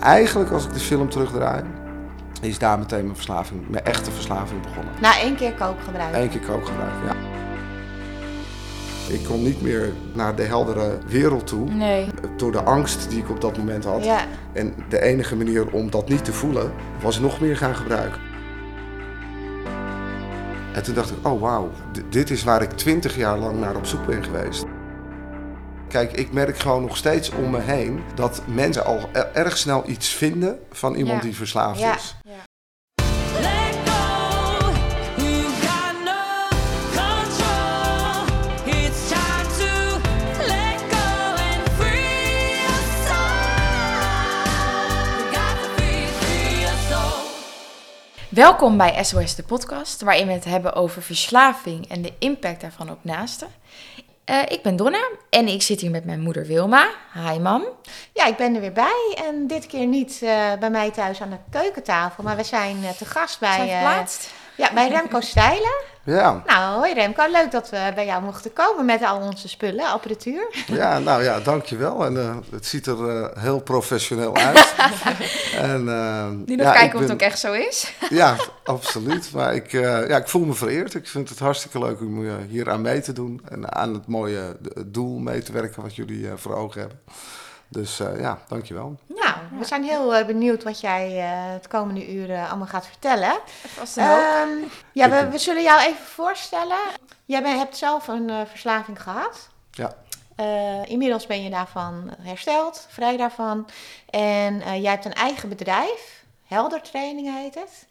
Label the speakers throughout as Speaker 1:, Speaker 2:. Speaker 1: Eigenlijk, als ik de film terugdraai, is daar meteen mijn verslaving, mijn echte verslaving begonnen.
Speaker 2: Na één keer kookgebruik.
Speaker 1: Eén keer kookgebruik, ja. Ik kon niet meer naar de heldere wereld toe.
Speaker 2: Nee.
Speaker 1: Door de angst die ik op dat moment had.
Speaker 2: Ja.
Speaker 1: En de enige manier om dat niet te voelen, was nog meer gaan gebruiken. En toen dacht ik, oh wauw, d- dit is waar ik twintig jaar lang naar op zoek ben geweest. Kijk, ik merk gewoon nog steeds om me heen dat mensen al er- erg snel iets vinden van iemand
Speaker 2: Ja.
Speaker 1: die verslaafd
Speaker 2: Ja.
Speaker 1: is.
Speaker 2: ja.
Speaker 3: Let go. You've got no control. It's time to let go and free your soul. You got to free, free your soul.
Speaker 4: Welkom bij SOS de podcast, waarin we het hebben over verslaving en de impact daarvan op naasten. Eh, ik ben Donna en ik zit hier met mijn moeder Wilma. Hi mam.
Speaker 2: Ja, ik ben er weer bij. En dit keer niet eh, bij mij thuis aan de keukentafel, maar we zijn eh, te gast bij,
Speaker 4: Zijn
Speaker 2: eh,
Speaker 4: verplaatst.
Speaker 2: ja, bij Remco Stijlen.
Speaker 1: Ja,
Speaker 2: Nou, hoi Remco, leuk dat we bij jou mochten komen met al onze spullen, apparatuur.
Speaker 1: ja, nou ja, dankjewel. En eh, het ziet er eh, heel professioneel uit. en, eh,
Speaker 4: Nu nog
Speaker 1: ja, ik
Speaker 4: kijken of
Speaker 1: ben-
Speaker 4: het ook echt zo is.
Speaker 1: Ja, absoluut. Maar ik, eh, ja, ik voel me vereerd. Ik vind het hartstikke leuk om eh, hier aan mee te doen. En aan het mooie eh, doel mee te werken wat jullie eh, voor ogen hebben. Dus eh ja, dankjewel.
Speaker 2: Nou, we zijn heel eh, benieuwd wat jij eh, het komende uur eh, allemaal gaat vertellen.
Speaker 4: Vast een hoop.
Speaker 2: Ehm, ja,
Speaker 1: eh,
Speaker 2: we, we zullen jou even voorstellen. Jij bent- hebt zelf een eh, verslaving gehad.
Speaker 1: Ja.
Speaker 2: Eh, inmiddels ben je daarvan hersteld, vrij daarvan. En eh, jij hebt een eigen bedrijf, Helder Training heet het.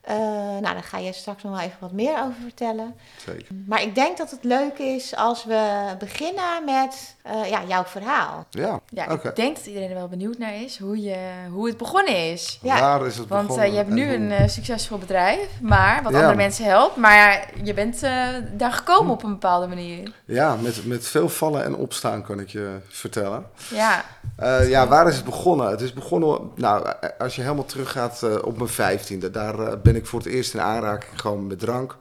Speaker 2: Eh, nou, daar ga je straks nog wel even wat meer over vertellen.
Speaker 1: Zeker.
Speaker 2: Maar ik denk dat het leuk is als we beginnen met eh, ja, jouw verhaal.
Speaker 1: Ja,
Speaker 4: Ja,
Speaker 1: oké.
Speaker 4: ik denk dat iedereen er wel benieuwd naar is hoe, je, hoe het begonnen is.
Speaker 2: Ja.
Speaker 1: Waar is het
Speaker 4: Want eh,
Speaker 1: begonnen?
Speaker 4: je hebt nu
Speaker 1: en
Speaker 4: een
Speaker 1: hoe?
Speaker 4: eh, succesvol bedrijf, maar wat
Speaker 1: Ja.
Speaker 4: andere mensen helpt. Maar je bent eh, daar gekomen op een bepaalde manier.
Speaker 1: Ja, met, met veel vallen en opstaan kan ik je vertellen.
Speaker 4: Ja,
Speaker 1: Eh, ja, waar is het begonnen? Het is begonnen, nou, eh, als je helemaal teruggaat eh, op mijn vijftiende. Daar eh, ben ik voor het eerst in aanraking gewoon met drank.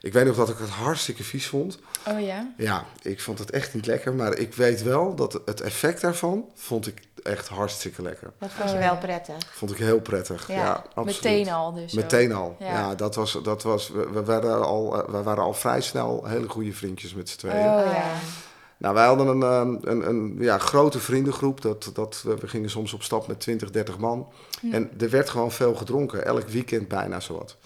Speaker 1: Ik weet nog dat ik het hartstikke vies vond.
Speaker 4: oh ja.
Speaker 1: Ja, ik vond het echt niet lekker, maar ik weet wel dat het effect daarvan vond ik echt hartstikke lekker.
Speaker 2: Dat vond je
Speaker 4: Oh,
Speaker 2: wel
Speaker 4: ja.
Speaker 2: prettig.
Speaker 1: Vond ik heel prettig. Ja,
Speaker 2: Ja,
Speaker 1: absoluut.
Speaker 4: Meteen al dus. ook.
Speaker 1: Meteen al. Ja,
Speaker 4: Ja.
Speaker 1: dat was, dat was we, we waren al, eh, we waren al vrij snel hele goede vriendjes met z'n tweeën.
Speaker 4: Oh
Speaker 2: ja.
Speaker 4: ja.
Speaker 1: Nou, wij hadden een, eh, een, een ja, grote vriendengroep. Dat, dat, we gingen soms op stap met 20, 30 man. En er werd gewoon veel gedronken. Elk weekend bijna zowat.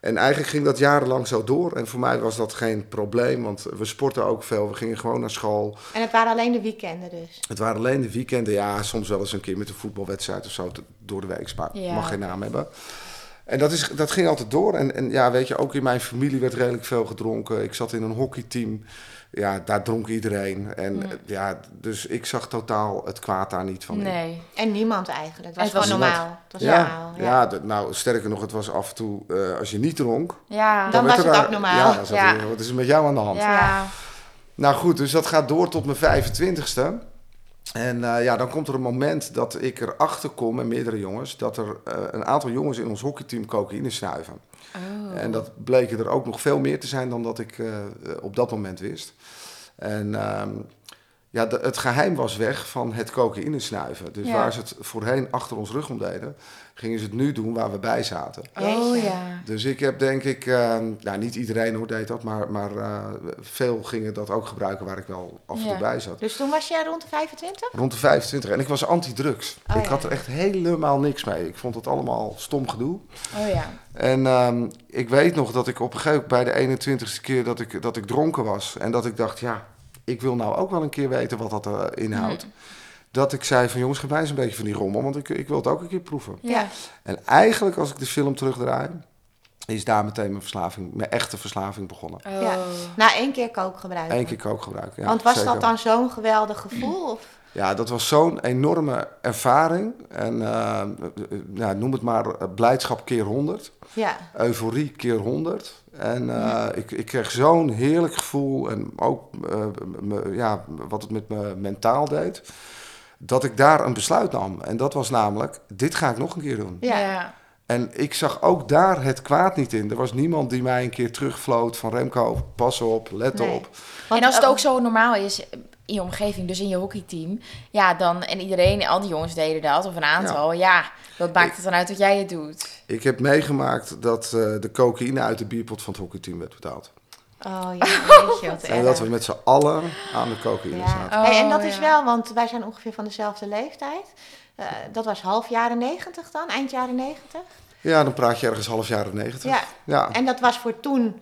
Speaker 1: En eigenlijk ging dat jarenlang zo door. En voor mij was dat geen probleem, want we sportten ook veel. We gingen gewoon naar school.
Speaker 2: En het waren alleen de weekenden dus.
Speaker 1: Het waren alleen de weekenden, ja, soms wel eens een keer met een voetbalwedstrijd of zo te- door de week, maar
Speaker 4: Ja.
Speaker 1: mag geen naam hebben. En dat, is, dat ging altijd door. En, en ja, weet je, ook in mijn familie werd redelijk veel gedronken. Ik zat in een hockeyteam. Ja, daar dronk iedereen. En
Speaker 2: Mm.
Speaker 1: eh, ja, dus ik zag totaal het kwaad daar niet van. in.
Speaker 4: Nee.
Speaker 2: En niemand eigenlijk. Het was
Speaker 4: Het was
Speaker 2: gewoon
Speaker 1: niemand.
Speaker 2: normaal. Het was
Speaker 1: Ja,
Speaker 2: normaal.
Speaker 1: ja. dat- nou, sterker nog, het was af en toe, eh, als je niet dronk...
Speaker 4: Ja.
Speaker 2: Dan
Speaker 1: werd
Speaker 2: was
Speaker 1: er,
Speaker 2: het
Speaker 1: eh,
Speaker 2: ook normaal.
Speaker 1: Ja, dan zat
Speaker 4: Ja.
Speaker 1: er, wat is er met jou aan de hand?
Speaker 4: ja.
Speaker 1: Nou goed, dus dat gaat door tot mijn 25ste. En eh, ja, dan komt er een moment dat ik erachter kom, en meerdere jongens, dat er eh, een aantal jongens in ons hockeyteam cocaïne snuiven.
Speaker 4: Oh.
Speaker 1: En dat bleken er ook nog veel meer te zijn dan dat ik eh, eh, op dat moment wist. En ehm, ja, de- het geheim was weg van het cocaïne snuiven. Dus
Speaker 4: Ja.
Speaker 1: waar ze het voorheen achter ons rug om deden, gingen ze het nu doen waar we bij zaten.
Speaker 4: Oh
Speaker 2: Jeetje.
Speaker 4: ja.
Speaker 1: Dus ik heb denk ik, eh, nou niet iedereen hoor deed dat, maar, maar eh, veel gingen dat ook gebruiken waar ik wel af en toe
Speaker 4: Ja.
Speaker 1: bij zat.
Speaker 2: Dus toen was jij rond de 25?
Speaker 1: Rond de 25 en ik was anti-drugs.
Speaker 2: Oh,
Speaker 1: ik
Speaker 2: ja.
Speaker 1: had er echt helemaal niks mee. Ik vond het allemaal stom gedoe.
Speaker 4: Oh ja.
Speaker 1: En ehm, ik weet nog dat ik op een gegeven moment bij de 21ste keer dat ik, dat ik dronken was. En dat ik dacht, ja, ik wil nou ook wel een keer weten wat dat eh, inhoudt. Dat ik zei van jongens, geef mij eens een beetje van die rommel, want ik, ik wil het ook een keer proeven.
Speaker 4: Ja.
Speaker 1: En eigenlijk als ik de film terugdraai, is daar meteen mijn verslaving, mijn echte verslaving begonnen.
Speaker 4: Oh.
Speaker 2: Ja. Na één keer kookgebruik.
Speaker 1: Eén keer kookgebruik. Ja,
Speaker 2: Want was
Speaker 1: zeker.
Speaker 2: dat dan zo'n geweldig gevoel? Of?
Speaker 1: Ja, dat was zo'n enorme ervaring. En eh, eh, eh, ja, noem het maar eh, blijdschap keer 100.
Speaker 2: Ja.
Speaker 1: Euforie keer 100. En eh, ik, ik kreeg zo'n heerlijk gevoel. En ook eh, m- m- ja, wat het met me mentaal deed. Dat ik daar een besluit nam. En dat was namelijk: dit ga ik nog een keer doen.
Speaker 2: Ja.
Speaker 4: Ja.
Speaker 1: En ik zag ook daar het kwaad niet in. Er was niemand die mij een keer terugvloot van Remco, pas op, let
Speaker 2: Nee.
Speaker 1: op.
Speaker 4: En als het ook zo normaal is, in je omgeving, dus in je hockeyteam. Ja, dan, en iedereen, al die jongens deden dat, of een aantal. Ja, wat maakt het dan uit dat jij het doet?
Speaker 1: Ik heb meegemaakt dat eh, de cocaïne uit de bierpot van het hockeyteam werd betaald.
Speaker 2: Oh ja, weet je wat
Speaker 1: En dat we
Speaker 2: erg.
Speaker 1: met z'n allen aan de cocaïne
Speaker 2: Ja.
Speaker 1: zaten.
Speaker 4: Oh,
Speaker 2: Hey, en dat is
Speaker 4: ja.
Speaker 2: wel, want wij zijn ongeveer van dezelfde leeftijd. Eh, dat was half jaren negentig dan, eind jaren negentig.
Speaker 1: Ja, dan praat je ergens half jaren negentig.
Speaker 2: Ja.
Speaker 1: Ja.
Speaker 2: En dat was voor toen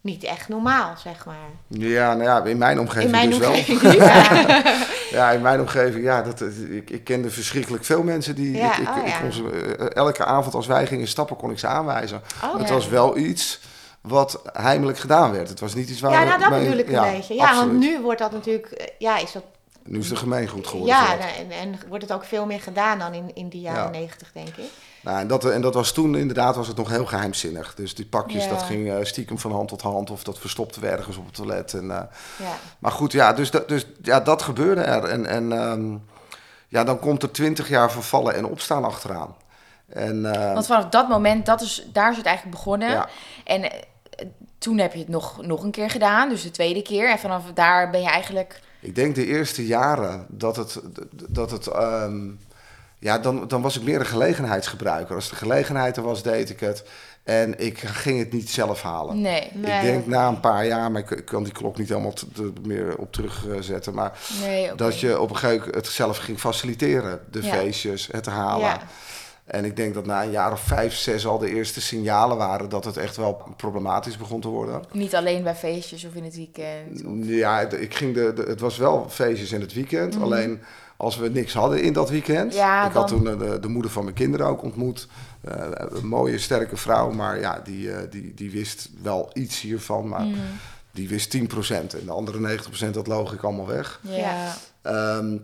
Speaker 2: niet echt normaal, zeg maar.
Speaker 1: ja, nou ja, in mijn omgeving
Speaker 2: In mijn
Speaker 1: dus
Speaker 2: omgeving niet. Ja.
Speaker 1: wel. Ja, in mijn omgeving, ja, dat, eh, ik, ik kende verschrikkelijk veel mensen die...
Speaker 2: Ja,
Speaker 1: ik, ik,
Speaker 2: oh
Speaker 1: ik
Speaker 2: ja.
Speaker 1: kon ze, eh, elke avond als wij gingen stappen, kon ik ze aanwijzen.
Speaker 2: Oh,
Speaker 1: het
Speaker 4: ja.
Speaker 1: was wel iets wat heimelijk gedaan werd. Het was niet iets waar...
Speaker 2: Ja,
Speaker 1: we
Speaker 2: nou dat
Speaker 1: mee-
Speaker 2: bedoel ik een beetje. Ja,
Speaker 1: absoluut.
Speaker 2: want nu wordt dat natuurlijk, eh, ja, is dat,
Speaker 1: Nu is het gemeengoed geworden. voor
Speaker 2: ja,
Speaker 1: dat.
Speaker 2: en, en wordt het ook veel meer gedaan dan in, in die jaren
Speaker 1: Ja.
Speaker 2: negentig, denk ik.
Speaker 1: Nou, en, dat, en dat was toen inderdaad was het nog heel geheimzinnig. Dus die pakjes,
Speaker 4: Ja.
Speaker 1: dat ging eh, stiekem van hand tot hand. Of dat verstopten we ergens op het toilet. En, eh,
Speaker 2: Ja.
Speaker 1: maar goed, ja, dus, dat- dus ja, dat gebeurde er. En, en ehm, ja, dan komt er twintig jaar vervallen en opstaan achteraan. En, eh,
Speaker 4: Want vanaf dat moment, dat is, daar is het eigenlijk begonnen.
Speaker 1: Ja.
Speaker 4: En eh, toen heb je het nog, nog een keer gedaan, dus de tweede keer. En vanaf daar ben je eigenlijk...
Speaker 1: ik denk de eerste jaren dat het... Dat het ehm, ja, dan, dan was ik meer een gelegenheidsgebruiker. Als de gelegenheid er was, deed ik het. En ik ging het niet zelf halen.
Speaker 4: Nee,
Speaker 2: Nee,
Speaker 1: ik denk
Speaker 2: dat-
Speaker 1: na een paar jaar, maar ik, ik kan die klok niet helemaal t- t- meer op terugzetten. Maar
Speaker 4: nee, oké.
Speaker 1: dat je op een gegeven moment het zelf ging faciliteren. De
Speaker 4: Ja.
Speaker 1: feestjes, het halen.
Speaker 2: Ja.
Speaker 1: En ik denk dat na een jaar of vijf, zes al de eerste signalen waren dat het echt wel problematisch begon te worden.
Speaker 4: Niet alleen bij feestjes of in het weekend. Mhm.
Speaker 1: Ja, de- ik ging de, de- het was wel feestjes in het weekend. Alleen als we niks hadden in dat weekend.
Speaker 4: Ja,
Speaker 1: ik had
Speaker 4: dan-
Speaker 1: toen eh, de, de moeder van mijn kinderen ook ontmoet. Eh, een mooie, sterke vrouw. Maar ja, die, eh, die, die wist wel iets hiervan. Maar
Speaker 4: Mhm.
Speaker 1: die wist 10%. En de andere 90% dat loog ik allemaal weg.
Speaker 4: Ja.
Speaker 2: Ja.
Speaker 1: Ehm,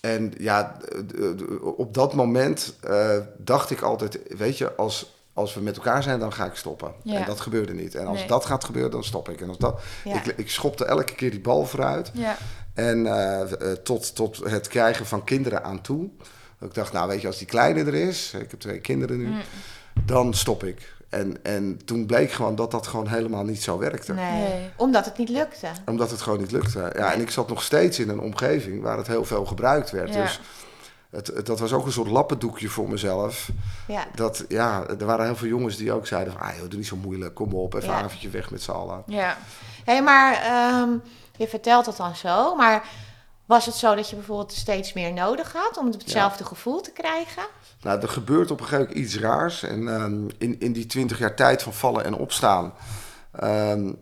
Speaker 1: en ja, d- d- d- op dat moment eh, dacht ik altijd, weet je, als, als we met elkaar zijn, dan ga ik stoppen.
Speaker 4: Ja.
Speaker 1: En dat gebeurde niet. En als
Speaker 4: Nee.
Speaker 1: dat gaat gebeuren, dan stop ik. En als dat,
Speaker 2: Ja.
Speaker 1: ik, ik schopte elke keer die bal vooruit.
Speaker 4: Ja.
Speaker 1: En eh, eh, tot, tot het krijgen van kinderen aan toe. Ik dacht, nou weet je, als die kleine er is, ik heb twee kinderen nu,
Speaker 4: Mm.
Speaker 1: dan stop ik. En, en toen bleek gewoon dat dat gewoon helemaal niet zo werkte
Speaker 2: Nee.
Speaker 4: Nee.
Speaker 2: Omdat het niet lukte.
Speaker 1: omdat het gewoon niet lukte. Ja, en ik zat nog steeds in een omgeving waar het heel veel gebruikt werd.
Speaker 4: Ja.
Speaker 1: Dus het, het- dat was ook een soort lappendoekje voor mezelf.
Speaker 2: Ja.
Speaker 1: Dat, ja, er waren heel veel jongens die ook zeiden van... Ah joh, doe niet zo moeilijk, kom op, even
Speaker 2: Ja.
Speaker 1: een avondje weg met z'n allen.
Speaker 4: Ja.
Speaker 2: Hé, hey, maar ehm, je vertelt dat dan zo, maar was het zo dat je bijvoorbeeld steeds meer nodig had om hetzelfde gevoel te krijgen?
Speaker 1: Nou, er gebeurt op een gegeven moment iets raars. En ehm, in, in die twintig jaar tijd van vallen en opstaan... ehm,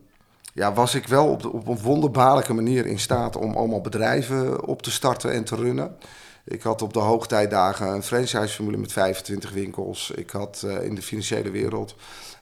Speaker 1: ja, was ik wel op, de, op een wonderbaarlijke manier in staat om allemaal bedrijven op te starten en te runnen. Ik had op de hoogtijdagen een franchiseformule met 25 winkels. Ik had eh, in de financiële wereld.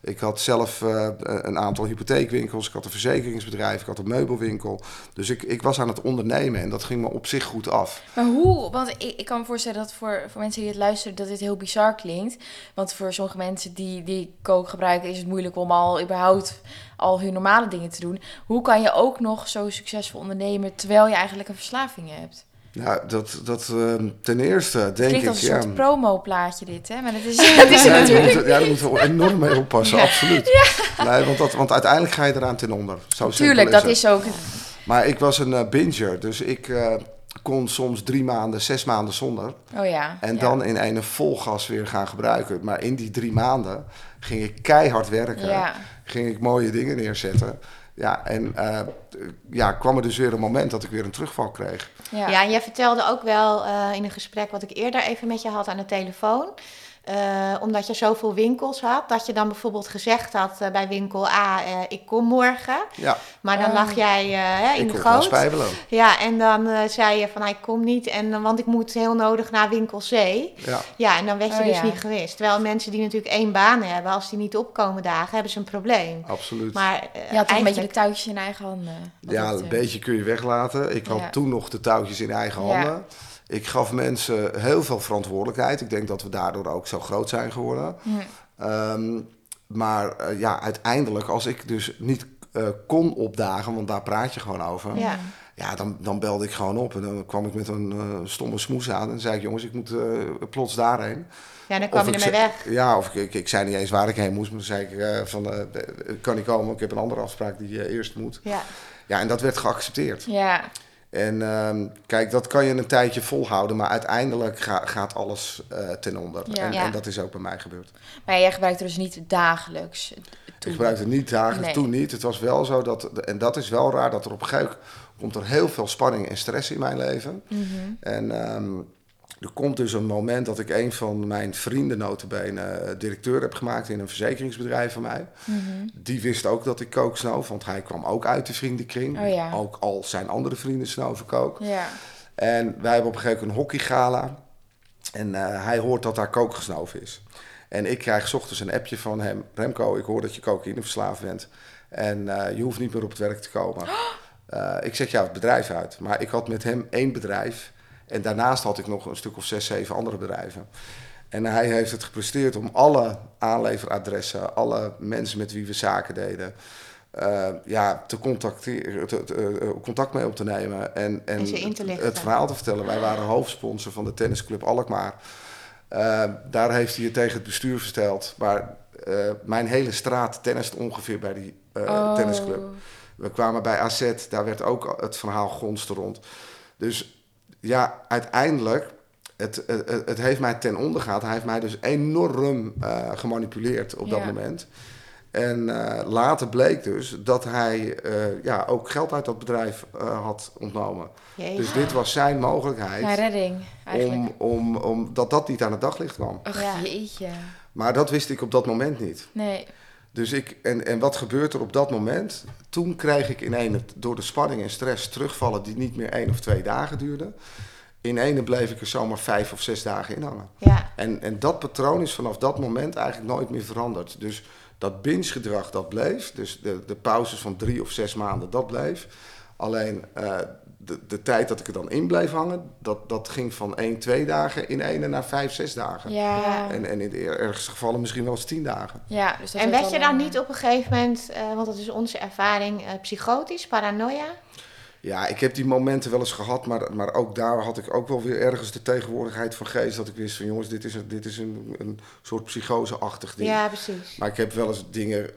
Speaker 1: Ik had zelf eh, een aantal hypotheekwinkels. Ik had een verzekeringsbedrijf. Ik had een meubelwinkel. Dus ik, ik was aan het ondernemen en dat ging me op zich goed af.
Speaker 4: Maar hoe? Want ik, ik kan me voorstellen dat voor, voor mensen die het luisteren, dat dit heel bizar klinkt. Want voor sommige mensen die, die kook gebruiken, is het moeilijk om al überhaupt al hun normale dingen te doen. Hoe kan je ook nog zo succesvol ondernemen terwijl je eigenlijk een verslaving hebt?
Speaker 1: Nou, dat, dat ehm, ten eerste denk
Speaker 4: Het
Speaker 1: ik.
Speaker 4: klinkt als een
Speaker 1: ja,
Speaker 4: soort promo-plaatje dit, hè? Maar dat is, dat is
Speaker 1: Ja,
Speaker 4: het
Speaker 1: daar
Speaker 4: natuurlijk.
Speaker 1: moeten, ja, daar moeten we enorm mee oppassen, absoluut. Nee, want, dat, want uiteindelijk ga je eraan ten onder. Zo simpel
Speaker 4: Tuurlijk, dat
Speaker 1: het.
Speaker 4: is ook...
Speaker 1: Maar ik was een eh, binger, dus ik eh, kon soms drie maanden, zes maanden zonder.
Speaker 4: Oh ja.
Speaker 1: En
Speaker 4: ja.
Speaker 1: dan in een vol gas weer gaan gebruiken. Maar in die drie maanden ging ik keihard werken.
Speaker 4: Ja.
Speaker 1: Ging ik mooie dingen neerzetten. Ja, en eh, ja, kwam er dus weer een moment dat ik weer een terugval kreeg.
Speaker 4: Ja.
Speaker 2: Ja, en jij vertelde ook wel eh, in een gesprek wat ik eerder even met je had aan de telefoon. eh, omdat je zoveel winkels had, dat je dan bijvoorbeeld gezegd had eh, bij winkel A, eh, ik kom morgen.
Speaker 1: Ja,
Speaker 2: Maar dan
Speaker 4: Oh.
Speaker 2: lag jij eh, hè, in
Speaker 1: ik
Speaker 2: de
Speaker 1: kon gewoon
Speaker 2: goot.
Speaker 1: spijbelen.
Speaker 2: Ja, en dan eh, zei je van nou, ik kom niet, en, eh, want ik moet heel nodig naar winkel C.
Speaker 1: Ja.
Speaker 2: Ja, en dan werd je
Speaker 4: Oh,
Speaker 2: dus
Speaker 4: ja.
Speaker 2: niet gewist. Terwijl mensen die natuurlijk één baan hebben, als die niet opkomen dagen, hebben ze een probleem.
Speaker 1: Absoluut.
Speaker 2: Maar eh,
Speaker 4: Je had toch een beetje de
Speaker 2: eigenlijk...
Speaker 4: touwtjes in eigen handen. wat
Speaker 1: Ja,
Speaker 4: dat,
Speaker 1: een
Speaker 4: eh,
Speaker 1: beetje kun je weglaten. Ik had
Speaker 4: Ja.
Speaker 1: toen nog de touwtjes in eigen
Speaker 4: Ja.
Speaker 1: handen. Ik gaf mensen heel veel verantwoordelijkheid. Ik denk dat we daardoor ook zo groot zijn geworden. Ehm, maar eh, ja, uiteindelijk, als ik dus niet eh, kon opdagen, want daar praat je gewoon over.
Speaker 2: Ja.
Speaker 1: Ja, dan, dan belde ik gewoon op en dan kwam ik met een eh, stomme smoes aan. En zei ik, jongens, ik moet eh, plots daarheen.
Speaker 2: ja, dan kwam je
Speaker 1: ik
Speaker 2: ermee
Speaker 1: ze-
Speaker 2: weg.
Speaker 1: Ja, of ik, ik, ik zei niet eens waar ik heen moest. Maar toen zei ik, eh, van, eh, kan ik komen? Ik heb een andere afspraak die eh, eerst moet.
Speaker 2: Ja.
Speaker 1: Ja, en dat werd geaccepteerd.
Speaker 4: Ja.
Speaker 1: En ehm, kijk, dat kan je een tijdje volhouden, maar uiteindelijk ga- gaat alles eh, ten onder.
Speaker 4: Ja.
Speaker 1: En,
Speaker 2: Ja.
Speaker 1: en dat is ook bij mij gebeurd.
Speaker 4: Maar jij gebruikt het dus niet dagelijks.
Speaker 1: Ik gebruikte het niet dagelijks,
Speaker 4: Nee.
Speaker 1: toen niet. Het was wel zo dat, en dat is wel raar, dat er op een gegeven moment komt er heel veel spanning en stress in mijn leven.
Speaker 4: Mhm.
Speaker 1: En ehm, er komt dus een moment dat ik een van mijn vrienden, notabene, eh, directeur heb gemaakt in een verzekeringsbedrijf van mij.
Speaker 4: Mhm.
Speaker 1: Die wist ook dat ik kook snoof, want hij kwam ook uit de vriendenkring.
Speaker 4: Oh ja.
Speaker 1: Ook al zijn andere vrienden snoven kook.
Speaker 4: Ja.
Speaker 1: En wij hebben op een gegeven moment een hockeygala. En eh, hij hoort dat daar kook gesnoven is. En ik krijg 's ochtends een appje van hem. Remco, ik hoor dat je cocaïne verslaafd bent. En eh, je hoeft niet meer op het werk te komen. Eh, ik zet jou het bedrijf uit. Maar ik had met hem één bedrijf. En daarnaast had ik nog een stuk of zes, zeven andere bedrijven. En hij heeft het gepresteerd om alle aanleveradressen, alle mensen met wie we zaken deden, eh, ja, te contacteren, te- te- eh, contact mee op te nemen. En, en,
Speaker 2: En ze in te lichten.
Speaker 1: het verhaal te vertellen. Wij waren hoofdsponsor van de tennisclub Alkmaar. Eh, daar heeft hij het tegen het bestuur verteld. Maar eh, mijn hele straat tennist ongeveer bij die eh,
Speaker 4: Oh.
Speaker 1: tennisclub. We kwamen bij AZ, daar werd ook het verhaal gonsten rond. Dus ja, uiteindelijk, het, het, het- het heeft mij ten onder gehaald. Hij heeft mij dus enorm eh, gemanipuleerd op dat
Speaker 4: Ja.
Speaker 1: moment. En eh, later bleek dus dat hij eh, ja, ook geld uit dat bedrijf eh, had ontnomen.
Speaker 2: Jezus.
Speaker 1: Dus dit was zijn
Speaker 4: Naar
Speaker 1: mogelijkheid
Speaker 4: redding, eigenlijk.
Speaker 1: om, om, om dat dat niet aan het daglicht kwam.
Speaker 4: Ach,
Speaker 2: Ja.
Speaker 4: jeetje.
Speaker 1: Maar dat wist ik op dat moment niet.
Speaker 4: Nee.
Speaker 1: Dus ik, en, en wat gebeurt er op dat moment? Toen kreeg ik in een, door de spanning en stress terugvallen die niet meer één of twee dagen duurden. In ene bleef ik er zomaar vijf of zes dagen in hangen.
Speaker 2: Ja.
Speaker 1: En, en dat patroon is vanaf dat moment eigenlijk nooit meer veranderd. Dus dat binge-gedrag, dat bleef. Dus de, de pauzes van drie of zes maanden, dat bleef. Alleen eh, de, de tijd dat ik er dan in bleef hangen, dat, dat ging van één, twee dagen in ene naar vijf, zes dagen.
Speaker 4: Ja.
Speaker 1: En, en in de ergste gevallen misschien wel eens tien dagen.
Speaker 4: ja dus dat
Speaker 2: en
Speaker 4: werd
Speaker 2: werd je
Speaker 4: dan
Speaker 2: dan
Speaker 4: een-
Speaker 2: niet op een gegeven moment, eh, want dat is onze ervaring, eh, psychotisch, paranoia?
Speaker 1: Ja, ik heb die momenten wel eens gehad, maar, maar ook daar had ik ook wel weer ergens de tegenwoordigheid van geest. Dat ik wist van jongens, dit is een, dit is een, een soort psychose-achtig ding.
Speaker 2: Ja, precies.
Speaker 1: Maar ik heb wel eens dingen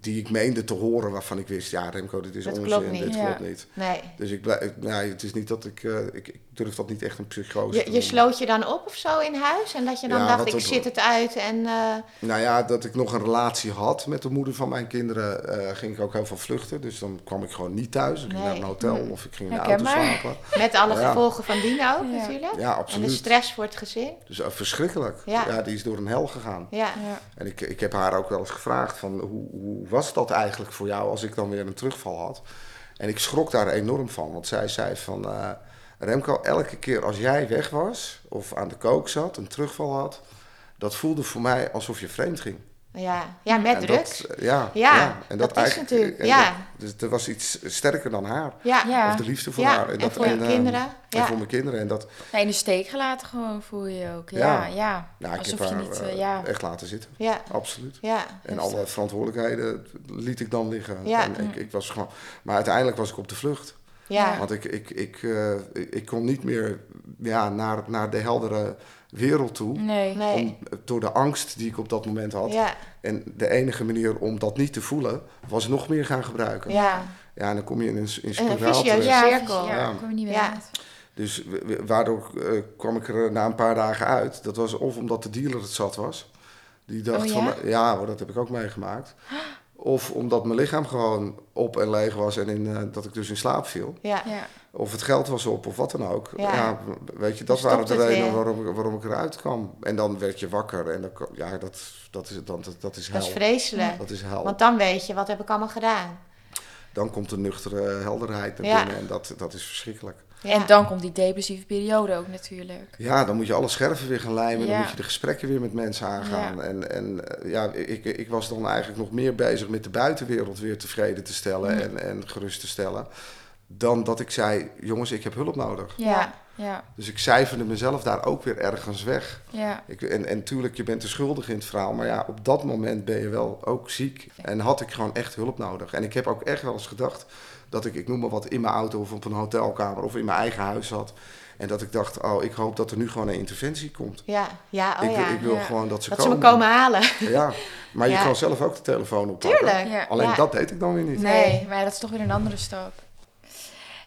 Speaker 1: die ik meende te horen waarvan ik wist, ja Remco, dit is
Speaker 2: Dat
Speaker 1: onzin,
Speaker 2: klopt niet.
Speaker 1: dit
Speaker 4: Ja.
Speaker 1: klopt niet.
Speaker 2: Nee.
Speaker 1: Dus ik blijf, ik- nou, het is niet dat ik, eh, ik, ik durf dat niet echt een psychose te
Speaker 2: Je, je
Speaker 1: noemen.
Speaker 2: sloot je dan op of zo in huis? En dat je dan
Speaker 1: Ja,
Speaker 2: dacht,
Speaker 1: wat
Speaker 2: ik
Speaker 1: op-
Speaker 2: zit het uit en... eh,
Speaker 1: Nou ja, dat ik nog een relatie had met de moeder van mijn kinderen, eh, ging ik ook heel veel vluchten. Dus dan kwam ik gewoon niet thuis. Ik ging
Speaker 2: Nee. Mm.
Speaker 1: naar een hotel of ik ging in de auto
Speaker 4: Herkenbaar.
Speaker 1: slapen.
Speaker 2: met alle
Speaker 1: Ja.
Speaker 2: gevolgen van dien ook
Speaker 4: Ja.
Speaker 2: natuurlijk.
Speaker 1: Ja,
Speaker 2: en de
Speaker 1: absoluut.
Speaker 2: stress voor het gezin.
Speaker 1: Dus eh, verschrikkelijk.
Speaker 2: Ja.
Speaker 1: ja, die is door een hel gegaan.
Speaker 2: Ja.
Speaker 4: Ja.
Speaker 1: En ik, ik heb haar ook wel eens gevraagd van hoe, hoe was dat eigenlijk voor jou als ik dan weer een terugval had? En ik schrok daar enorm van, want zij zei van eh, Remco, elke keer als jij weg was of aan de kook zat, een terugval had, dat voelde voor mij alsof je vreemd ging.
Speaker 2: Ja, ja met
Speaker 1: En
Speaker 2: drugs.
Speaker 1: dat, eh, ja,
Speaker 2: Ja,
Speaker 1: ja,
Speaker 2: dat
Speaker 1: en dat,
Speaker 2: is
Speaker 1: eigenlijk,
Speaker 2: natuurlijk,
Speaker 1: en
Speaker 2: ja.
Speaker 1: dat- dus er was iets sterker dan haar.
Speaker 2: ja.
Speaker 4: Ja.
Speaker 1: Of de liefde voor
Speaker 2: Ja,
Speaker 1: haar.
Speaker 2: en
Speaker 1: dat,
Speaker 2: voor je
Speaker 1: eh,
Speaker 2: kinderen, ja.
Speaker 1: En voor mijn kinderen. En dat,
Speaker 4: Nee, in de steek gelaten gewoon voel je je ook. Ja, ja.
Speaker 1: Ja.
Speaker 4: Nou,
Speaker 1: nou, ik heb
Speaker 4: Alsof je
Speaker 1: haar
Speaker 4: niet... eh,
Speaker 1: eh,
Speaker 4: ja.
Speaker 1: echt laten zitten.
Speaker 2: Ja.
Speaker 1: Absoluut.
Speaker 2: Ja.
Speaker 1: En alle verantwoordelijkheden liet ik dan liggen.
Speaker 2: Ja.
Speaker 1: En ik, ik was gewoon, maar uiteindelijk was ik op de vlucht.
Speaker 2: Ja.
Speaker 1: Want ik, ik, ik, eh, ik ik kon niet meer ja, naar, naar de heldere wereld toe.
Speaker 4: Nee.
Speaker 2: Nee.
Speaker 1: Om, door de angst die ik op dat moment had.
Speaker 2: Ja.
Speaker 1: En de enige manier om dat niet te voelen, was nog meer gaan gebruiken.
Speaker 2: Ja.
Speaker 1: Ja, en dan kom je in een, s- in een
Speaker 2: vicieuze
Speaker 1: spiraal terecht.
Speaker 4: Ja,
Speaker 2: cirkel.
Speaker 4: Ja, ik kom er niet meer
Speaker 2: Ja.
Speaker 4: uit.
Speaker 1: Dus w- w- waardoor eh, kwam ik er na een paar dagen uit. Dat was of omdat de dealer het zat was. Die dacht
Speaker 4: Oh, ja?
Speaker 1: van, me- ja hoor, dat heb ik ook meegemaakt. Of omdat mijn lichaam gewoon op en leeg was en in, eh, dat ik dus in slaap viel.
Speaker 2: Ja.
Speaker 4: Ja.
Speaker 1: Of het geld was op of wat dan ook.
Speaker 2: Ja.
Speaker 1: Ja, w- weet je, dat
Speaker 2: Dan
Speaker 1: waren
Speaker 2: stopt
Speaker 1: de
Speaker 2: het
Speaker 1: redenen
Speaker 2: weer.
Speaker 1: waarom, ik- waarom ik eruit kwam. En dan werd je wakker en dan, ko- ja, dat, dat is, dan, dat, dat is hel.
Speaker 2: Dat is vreselijk.
Speaker 1: Dat is hel.
Speaker 2: Want dan weet je, wat heb ik allemaal gedaan?
Speaker 1: Dan komt de nuchtere helderheid naar
Speaker 2: Ja.
Speaker 1: binnen en dat, dat is verschrikkelijk.
Speaker 2: Ja.
Speaker 4: En dan komt die depressieve periode ook natuurlijk.
Speaker 1: Ja, dan moet je alle scherven weer gaan lijmen.
Speaker 4: Ja.
Speaker 1: Dan moet je de gesprekken weer met mensen aangaan.
Speaker 4: Ja.
Speaker 1: En, en eh, ja, ik, ik was dan eigenlijk nog meer bezig met de buitenwereld weer tevreden te
Speaker 4: Mm.
Speaker 1: stellen en, en gerust te stellen. Dan dat ik zei, jongens, ik heb hulp nodig.
Speaker 4: Ja. Ja.
Speaker 1: Dus ik cijferde mezelf daar ook weer ergens weg.
Speaker 4: Ja.
Speaker 1: Ik, en, en tuurlijk, je bent de schuldige in het verhaal. Maar ja, op dat moment ben je wel ook ziek. En had ik gewoon echt hulp nodig. En ik heb ook echt wel eens gedacht dat ik, ik noem maar wat, in mijn auto of op een hotelkamer of in mijn eigen huis zat. En dat ik dacht, oh, ik hoop dat er nu gewoon een interventie komt.
Speaker 2: Ja, ja, oh
Speaker 1: ik, wil-
Speaker 2: ja.
Speaker 1: ik wil
Speaker 4: ja.
Speaker 1: gewoon dat ze
Speaker 2: dat ze me
Speaker 1: komen.
Speaker 2: komen halen.
Speaker 1: Ja, maar
Speaker 2: Ja.
Speaker 1: je kan zelf ook de telefoon oppakken.
Speaker 2: Tuurlijk.
Speaker 4: Ja.
Speaker 1: Alleen
Speaker 2: Ja.
Speaker 1: dat deed ik dan weer niet.
Speaker 4: Nee, maar dat is toch weer een andere stap.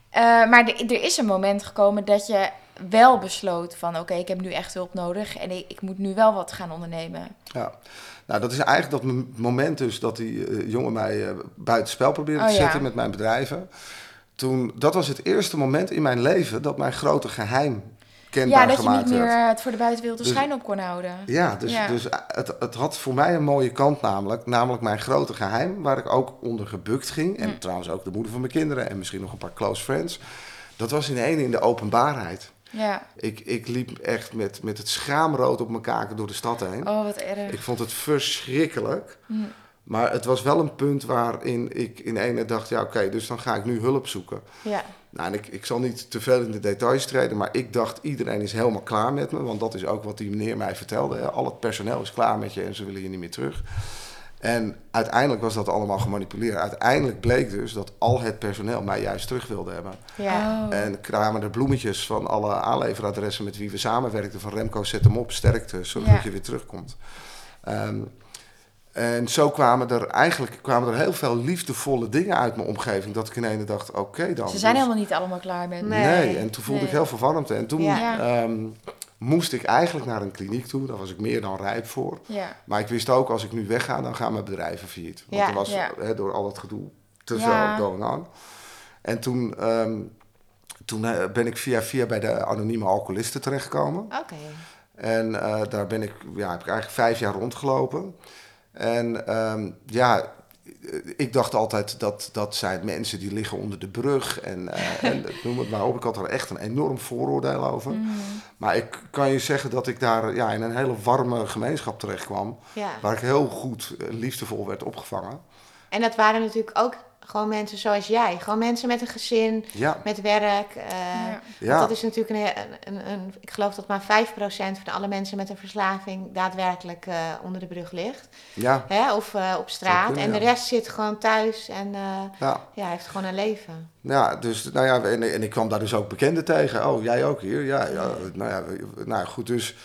Speaker 4: Ehm, Eh, maar de- er is een moment gekomen dat je wel besloot van... oké, ik heb nu echt hulp nodig en ik, ik moet nu wel wat gaan ondernemen.
Speaker 1: Ja. Nou, dat is eigenlijk dat m- moment dus dat die eh, jongen mij eh, buitenspel probeerde
Speaker 4: Oh,
Speaker 1: te
Speaker 4: ja.
Speaker 1: zetten met mijn bedrijven. Toen, dat was het eerste moment in mijn leven dat mijn grote geheim kenbaar
Speaker 4: ja, dat je
Speaker 1: gemaakt
Speaker 4: niet meer
Speaker 1: werd.
Speaker 4: eh, het voor de buitenwereld de
Speaker 1: Dus-
Speaker 4: schijn op kon houden.
Speaker 1: Ja, dus,
Speaker 4: Ja.
Speaker 1: dus eh, het, het had voor mij een mooie kant namelijk. Namelijk mijn grote geheim, waar ik ook onder gebukt ging.
Speaker 4: Hm.
Speaker 1: En trouwens ook de moeder van mijn kinderen en misschien nog een paar close friends. Dat was in de ene in de openbaarheid.
Speaker 4: Ja.
Speaker 1: Ik, ik liep echt met, met het schaamrood op mijn kaken door de stad heen.
Speaker 4: Oh, wat erg.
Speaker 1: Ik vond het verschrikkelijk. Maar het was wel een punt waarin ik in ene dacht, ja oké, dus dan ga ik nu hulp zoeken.
Speaker 2: Ja.
Speaker 1: Nou, en ik, ik zal niet te veel in de details treden, maar ik dacht iedereen is helemaal klaar met me. Want dat is ook wat die meneer mij vertelde. hè. Al het personeel is klaar met je en ze willen je niet meer terug. En uiteindelijk was dat allemaal gemanipuleerd. Uiteindelijk bleek dus dat al het personeel mij juist terug wilde hebben.
Speaker 2: Ja.
Speaker 4: Oh.
Speaker 1: En kwamen de bloemetjes van alle aanleveradressen met wie we samenwerkten. Van Remco, zet hem op, sterkte, zodat
Speaker 4: Ja.
Speaker 1: je weer terugkomt. Ehm, en zo kwamen er eigenlijk kwamen er heel veel liefdevolle dingen uit mijn omgeving. Dat ik in ene dacht, oké dan.
Speaker 4: Ze zijn
Speaker 1: dus-
Speaker 4: helemaal niet allemaal klaar met...
Speaker 2: Nee.
Speaker 1: Nee. en toen voelde
Speaker 4: Nee.
Speaker 1: ik heel veel warmte. En toen
Speaker 2: Ja.
Speaker 1: ehm, moest ik eigenlijk naar een kliniek toe. Daar was ik meer dan rijp voor.
Speaker 4: Ja.
Speaker 1: Maar ik wist ook, als ik nu wegga, dan gaan mijn bedrijven failliet. Want
Speaker 2: Ja,
Speaker 1: er was
Speaker 4: ja.
Speaker 1: hè, door al dat gedoe te
Speaker 4: Ja.
Speaker 1: veel going on. En toen, ehm, toen eh, ben ik via via bij de anonieme alcoholisten terechtgekomen.
Speaker 2: Oké.
Speaker 1: En eh, daar ben ik, ja, heb ik eigenlijk vijf jaar rondgelopen. En ehm, ja, eh, ik dacht altijd dat dat zijn mensen die liggen onder de brug. En, eh, en noem het maar op. Ik had er echt een enorm vooroordeel over.
Speaker 4: Mhm.
Speaker 1: Maar ik kan je zeggen dat ik daar ja, in een hele warme gemeenschap terecht kwam.
Speaker 2: Ja.
Speaker 1: Waar ik heel goed eh, liefdevol werd opgevangen.
Speaker 2: En dat waren natuurlijk ook gewoon mensen zoals jij. Gewoon mensen met een gezin,
Speaker 1: Ja,
Speaker 2: met werk. eh,
Speaker 4: Ja.
Speaker 2: want
Speaker 1: ja.
Speaker 2: Dat is natuurlijk een, een, een, een- Ik geloof dat maar 5% van alle mensen met een verslaving daadwerkelijk eh, onder de brug ligt.
Speaker 1: ja.
Speaker 2: Hè? Of eh, op straat.
Speaker 1: kunnen,
Speaker 2: en de
Speaker 1: ja.
Speaker 2: rest zit gewoon thuis en eh,
Speaker 1: ja.
Speaker 2: ja, heeft gewoon een leven.
Speaker 1: Ja, dus, nou ja, en, en ik kwam daar dus ook bekenden tegen. Oh, jij ook hier? Ja, ja nou ja, we- nou ja, goed, dus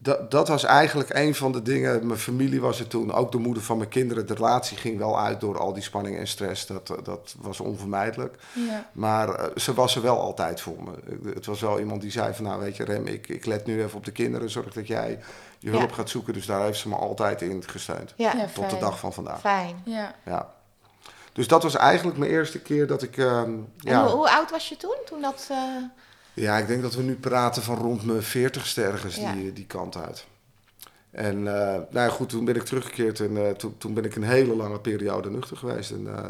Speaker 1: dat, dat was eigenlijk een van de dingen. Mijn familie was er toen, ook de moeder van mijn kinderen. De relatie ging wel uit door al die spanning en stress. Dat, eh, dat was onvermijdelijk.
Speaker 4: Ja.
Speaker 1: Maar eh, ze was er wel altijd voor me. Eh, Het was wel iemand die zei van, nou weet je Rem, ik, ik let nu even op de kinderen. Zorg dat jij je hulp
Speaker 2: Ja.
Speaker 1: gaat zoeken. Dus daar heeft ze me altijd in gesteund.
Speaker 2: Ja,
Speaker 4: Ja,
Speaker 1: Tot de
Speaker 4: fijn.
Speaker 1: dag van vandaag.
Speaker 2: fijn.
Speaker 4: Ja.
Speaker 1: Ja. Dus dat was eigenlijk mijn eerste keer dat ik... ehm,
Speaker 2: En
Speaker 1: ja,
Speaker 2: hoe, hoe oud was je toen? Toen dat... eh,
Speaker 1: Ja, ik denk dat we nu praten van rond mijn veertigste ergens
Speaker 2: Ja.
Speaker 1: die, die kant uit. En eh, nou ja, goed, toen ben ik teruggekeerd en eh, toen, toen ben ik een hele lange periode nuchter geweest. En eh,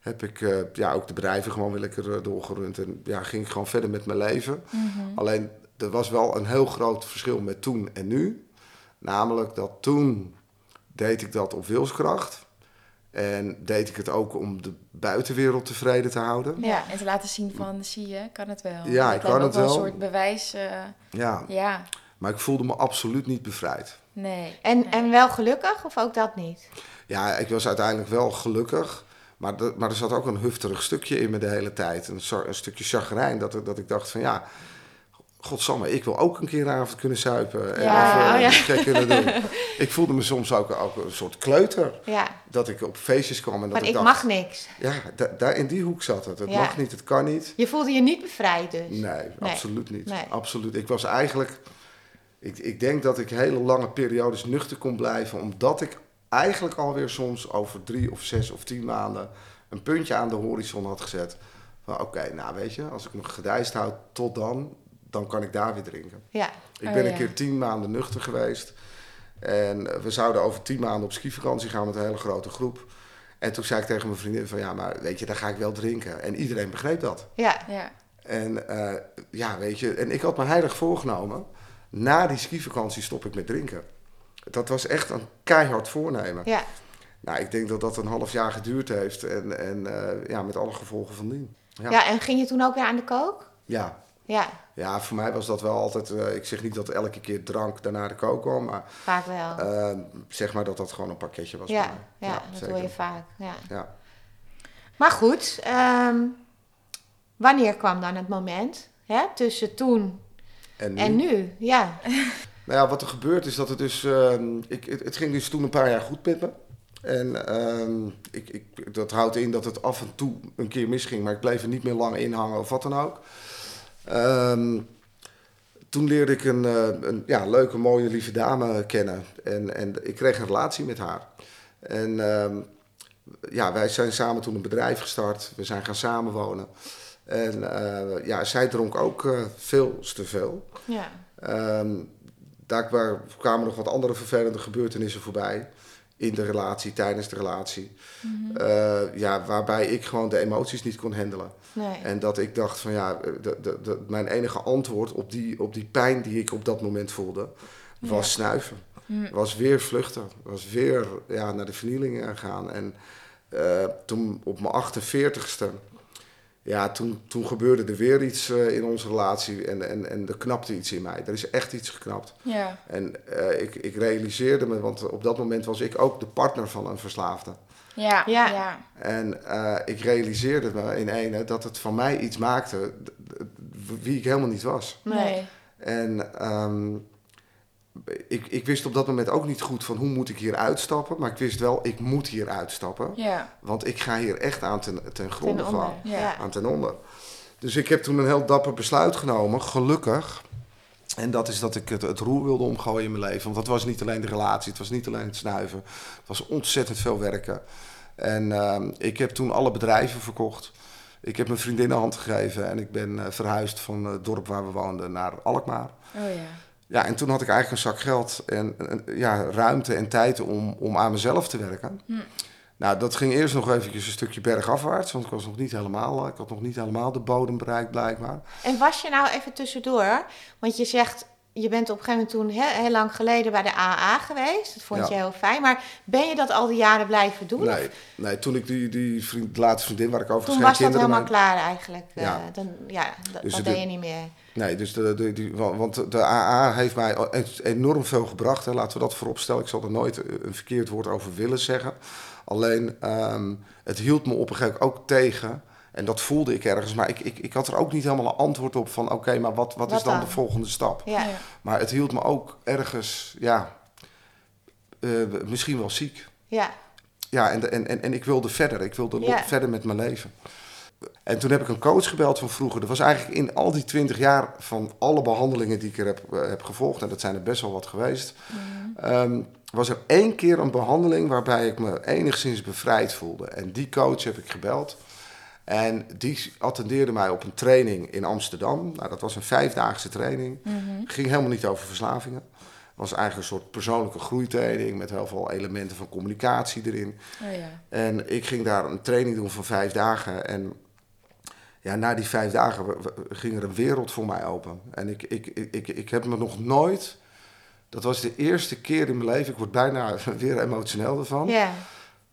Speaker 1: heb ik eh, ja, ook de bedrijven gewoon weer lekker eh, doorgerund en ja, ging ik gewoon verder met mijn leven. Alleen er was wel een heel groot verschil met toen en nu. Namelijk dat toen deed ik dat op wilskracht. En deed ik het ook om de buitenwereld tevreden te houden.
Speaker 4: Ja, en te laten zien van, zie je, kan het wel.
Speaker 1: Ja,
Speaker 4: Dat
Speaker 1: ik
Speaker 4: lijkt
Speaker 1: kan
Speaker 4: me ook
Speaker 1: het
Speaker 4: een
Speaker 1: wel.
Speaker 4: soort bewijs. eh,
Speaker 1: Ja,
Speaker 4: ja,
Speaker 1: maar ik voelde me absoluut niet bevrijd.
Speaker 4: nee.
Speaker 2: En,
Speaker 4: nee.
Speaker 2: en wel gelukkig of ook dat niet?
Speaker 1: Ja, ik was uiteindelijk wel gelukkig. Maar, de- maar er zat ook een hufterig stukje in me de hele tijd. Een, zo- een stukje chagrijn. Dat, ik- dat ik dacht van ja, godsamme, ik wil ook een keer een avond kunnen suipen. En
Speaker 4: Ja,
Speaker 1: even
Speaker 2: oh ja.
Speaker 1: iets gek kunnen doen. Ik voelde me soms ook, ook een soort kleuter.
Speaker 2: Ja,
Speaker 1: Dat ik op feestjes kwam en dat
Speaker 2: maar
Speaker 1: ik,
Speaker 2: ik
Speaker 1: dacht...
Speaker 2: mag niks.
Speaker 1: Ja, da- daar in die hoek zat het. Het
Speaker 2: Ja.
Speaker 1: mag niet, het kan niet.
Speaker 2: Je voelde je niet bevrijd dus?
Speaker 1: Nee, absoluut niet.
Speaker 2: Nee.
Speaker 1: Absoluut. Ik was eigenlijk. Ik, ik denk dat ik hele lange periodes nuchter kon blijven, omdat ik eigenlijk alweer soms over drie of zes of tien maanden een puntje aan de horizon had gezet. Van oké, nou weet je, als ik me gedijst houd tot dan, dan kan ik daar weer drinken.
Speaker 2: Ja,
Speaker 1: Ik
Speaker 4: Oh,
Speaker 1: ben
Speaker 4: ja.
Speaker 1: een keer tien maanden nuchter geweest. En eh, we zouden over tien maanden op skivakantie gaan met een hele grote groep. En toen zei ik tegen mijn vriendin van ja, maar weet je, daar ga ik wel drinken. En iedereen begreep dat.
Speaker 2: ja,
Speaker 4: Ja,
Speaker 1: En eh, ja, weet je, en ik had me heilig voorgenomen. Na die skivakantie stop ik met drinken. Dat was echt een keihard voornemen.
Speaker 2: ja.
Speaker 1: Nou, ik denk dat dat een half jaar geduurd heeft. En, en eh, ja, met alle gevolgen van dien.
Speaker 2: ja.
Speaker 1: Ja.
Speaker 2: en ging je toen ook weer aan de kook?
Speaker 1: Ja.
Speaker 2: Ja,
Speaker 1: ja, voor mij was dat wel altijd... eh, ik zeg niet dat elke keer drank daarna de kook kwam. Maar
Speaker 2: vaak wel.
Speaker 1: eh, zeg maar dat dat gewoon een pakketje was.
Speaker 2: ja,
Speaker 1: voor mij.
Speaker 2: ja, dat
Speaker 1: zeker.
Speaker 2: hoor je vaak. Ja.
Speaker 1: Ja.
Speaker 2: Maar goed, ehm, wanneer kwam dan het moment? Hè? Tussen toen
Speaker 1: En nu?
Speaker 2: en nu, ja.
Speaker 1: Nou ja, wat er gebeurt is dat het dus... ehm, ik, het, het ging dus toen een paar jaar goed met me. En ehm, ik, ik, dat houdt in dat het af en toe een keer misging, maar ik bleef er niet meer lang in hangen of wat dan ook. Ehm, toen leerde ik een, eh, een ja, leuke, mooie, lieve dame kennen. En, en ik kreeg een relatie met haar. En ehm, ja, wij zijn samen toen een bedrijf gestart. We zijn gaan samenwonen. En eh, ja, zij dronk ook eh, veel te veel.
Speaker 2: Ja.
Speaker 1: Ehm, daar kwamen nog wat andere vervelende gebeurtenissen voorbij. In de relatie, tijdens de relatie. Eh, ja, waarbij ik gewoon de emoties niet kon handelen.
Speaker 2: Nee.
Speaker 1: En dat ik dacht van ja, eh, de, de, de, mijn enige antwoord op die, op die pijn die ik op dat moment voelde, was snuiven. Was weer vluchten. Was weer ja, naar de vernieling eh, gaan. En eh, toen op mijn 48ste, ja, toen, toen gebeurde er weer iets eh, in onze relatie. En, en, en er knapte iets in mij. Er is echt iets geknapt.
Speaker 4: Ja.
Speaker 1: En eh, ik, ik realiseerde me, want op dat moment was ik ook de partner van een verslaafde.
Speaker 4: Ja.
Speaker 2: Ja.
Speaker 4: Ja.
Speaker 1: En eh, ik realiseerde me in ene dat het van mij iets maakte d- d- wie ik helemaal niet was.
Speaker 2: Nee.
Speaker 4: Nee.
Speaker 1: En ehm, ik, ik wist op dat moment ook niet goed van hoe moet ik hier uitstappen. Maar ik wist wel, ik moet hier uitstappen.
Speaker 4: Ja.
Speaker 1: Want ik ga hier echt aan ten, ten gronde
Speaker 2: Ten onder.
Speaker 1: van.
Speaker 4: Ja.
Speaker 2: Ja.
Speaker 1: Aan ten onder. Dus ik heb toen een heel dapper besluit genomen, gelukkig. En dat is dat ik het, het roer wilde omgooien in mijn leven. Want dat was niet alleen de relatie, het was niet alleen het snuiven. Het was ontzettend veel werken. En ehm, ik heb toen alle bedrijven verkocht. Ik heb mijn vriendin een hand gegeven en ik ben eh, verhuisd van het dorp waar we woonden naar Alkmaar.
Speaker 4: Oh ja.
Speaker 1: Ja, en toen had ik eigenlijk een zak geld en eh, ja, ruimte en tijd om, om aan mezelf te werken.
Speaker 2: Hm.
Speaker 1: Nou, dat ging eerst nog eventjes een stukje bergafwaarts, want ik was nog niet helemaal, eh, ik had nog niet helemaal de bodem bereikt blijkbaar.
Speaker 2: En was je nou even tussendoor, want je zegt, je bent op een gegeven moment toen he- heel lang geleden bij de AA geweest. Dat vond
Speaker 1: Ja.
Speaker 2: je heel fijn. Maar ben je dat al die jaren blijven doen?
Speaker 1: Nee, nee toen ik die, die vriend, laatste vriendin waar ik over
Speaker 2: Toen
Speaker 1: geen
Speaker 2: was dat
Speaker 1: kinderen
Speaker 2: helemaal
Speaker 1: mee-
Speaker 2: klaar eigenlijk. eh,
Speaker 1: Ja.
Speaker 2: dan, ja, dat,
Speaker 1: Dus
Speaker 2: dat
Speaker 1: de-
Speaker 2: deed je niet meer.
Speaker 1: Nee, dus de, de, die, wa- want de AA heeft mij e- enorm veel gebracht. Hè. Laten we dat vooropstellen. Ik zal er nooit eh, een verkeerd woord over willen zeggen. Alleen, ehm, het hield me op een gegeven moment ook tegen. En dat voelde ik ergens. Maar ik, ik, ik had er ook niet helemaal een antwoord op van... oké, maar wat, wat,
Speaker 2: Wat
Speaker 1: is dan,
Speaker 2: dan?
Speaker 1: de volgende stap?
Speaker 2: Ja.
Speaker 4: Ja.
Speaker 1: Maar het hield me ook ergens, ja... eh, misschien wel ziek.
Speaker 2: Ja.
Speaker 1: Ja, en, de- en, en, en ik wilde verder. Ik wilde lo-
Speaker 2: Ja.
Speaker 1: verder met mijn leven. En toen heb ik een coach gebeld van vroeger. Dat was eigenlijk in al die twintig jaar van alle behandelingen die ik er heb, eh, heb gevolgd, en dat zijn er best wel wat geweest, ehm, was er één keer een behandeling waarbij ik me enigszins bevrijd voelde. En die coach heb ik gebeld. En die attendeerde mij op een training in Amsterdam. Nou, dat was een vijfdaagse training. Ging helemaal niet over verslavingen. Was eigenlijk een soort persoonlijke groeitraining met heel veel elementen van communicatie erin.
Speaker 4: Oh ja.
Speaker 1: En ik ging daar een training doen van vijf dagen. En ja, na die vijf dagen we- we- ging er een wereld voor mij open. En ik, ik, ik, ik, ik heb me nog nooit. Dat was de eerste keer in mijn leven. Ik word bijna weer emotioneel ervan.
Speaker 2: Ja.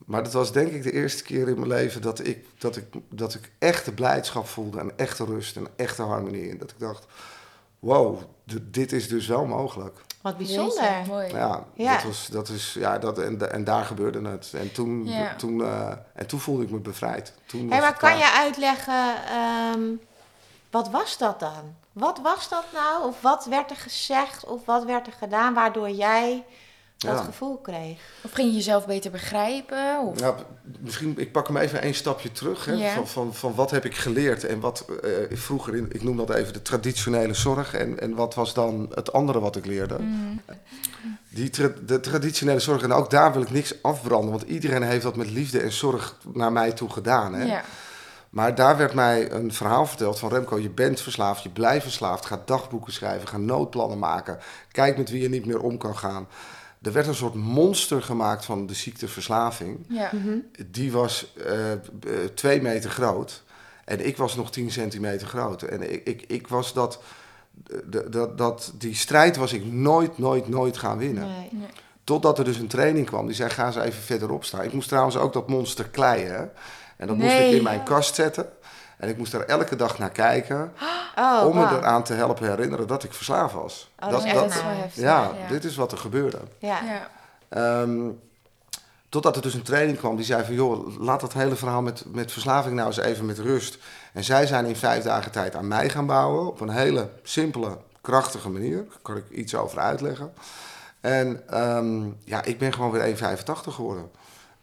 Speaker 1: Maar dat was denk ik de eerste keer in mijn leven dat ik, dat ik, dat ik echte blijdschap voelde. En echte rust en echte harmonie. En dat ik dacht: wow, d- dit is dus wel mogelijk.
Speaker 2: Wat bijzonder.
Speaker 4: Jeetje, mooi.
Speaker 1: Ja,
Speaker 2: Ja.
Speaker 1: Dat was, dat is, ja dat, en, da- en daar gebeurde het. En toen,
Speaker 4: Ja.
Speaker 1: toen, eh, en toen voelde ik me bevrijd. Toen
Speaker 2: Hé,
Speaker 1: was
Speaker 2: maar
Speaker 1: het
Speaker 2: kan
Speaker 1: klaar.
Speaker 2: je uitleggen, ehm, wat was dat dan? Wat was dat nou? Of wat werd er gezegd? Of wat werd er gedaan waardoor jij dat
Speaker 1: Ja.
Speaker 2: gevoel kreeg?
Speaker 4: Of ging je jezelf beter begrijpen? Of...
Speaker 1: Ja, p- misschien, ik pak hem even een stapje terug. Hè,
Speaker 4: Ja.
Speaker 1: van, van, van wat heb ik geleerd en wat eh, vroeger, in, ik noem dat even de traditionele zorg. En, en wat was dan het andere wat ik leerde?
Speaker 2: Mm.
Speaker 1: Die tra- de traditionele zorg, en ook daar wil ik niks afbranden. Want iedereen heeft dat met liefde en zorg naar mij toe gedaan. Hè?
Speaker 4: Ja.
Speaker 1: Maar daar werd mij een verhaal verteld van Remco, je bent verslaafd, je blijft verslaafd. Ga dagboeken schrijven, ga noodplannen maken. Kijk met wie je niet meer om kan gaan. Er werd een soort monster gemaakt van de ziekte verslaving.
Speaker 4: Ja.
Speaker 1: Die was eh, b- eh, twee meter groot en ik was nog 10 centimeter groot. En ik, ik, ik was dat, d- dat, dat, die strijd was ik nooit, nooit, nooit gaan winnen.
Speaker 2: Nee.
Speaker 1: Totdat er dus een training kwam. Die zei, ga eens even verderop staan. Ik moest trouwens ook dat monster kleien. hè. En dat moest ik
Speaker 4: Nee.
Speaker 1: in mijn kast zetten. En ik moest daar elke dag naar kijken.
Speaker 2: Oh,
Speaker 1: om me
Speaker 2: wauw.
Speaker 1: eraan te helpen herinneren dat ik verslaafd was.
Speaker 2: Oh,
Speaker 4: Dat,
Speaker 2: dat
Speaker 4: is
Speaker 2: is
Speaker 4: echt
Speaker 2: dat-
Speaker 4: wel heftig.
Speaker 1: ja, dit is wat er gebeurde.
Speaker 2: Ja.
Speaker 4: Ja.
Speaker 1: Ehm, totdat er dus een training kwam die zei van... joh, laat dat hele verhaal met, met verslaving nou eens even met rust. En zij zijn in vijf dagen tijd aan mij gaan bouwen... op een hele simpele, krachtige manier. Daar kan ik iets over uitleggen. En ehm, ja, ik ben gewoon weer 1,85 geworden.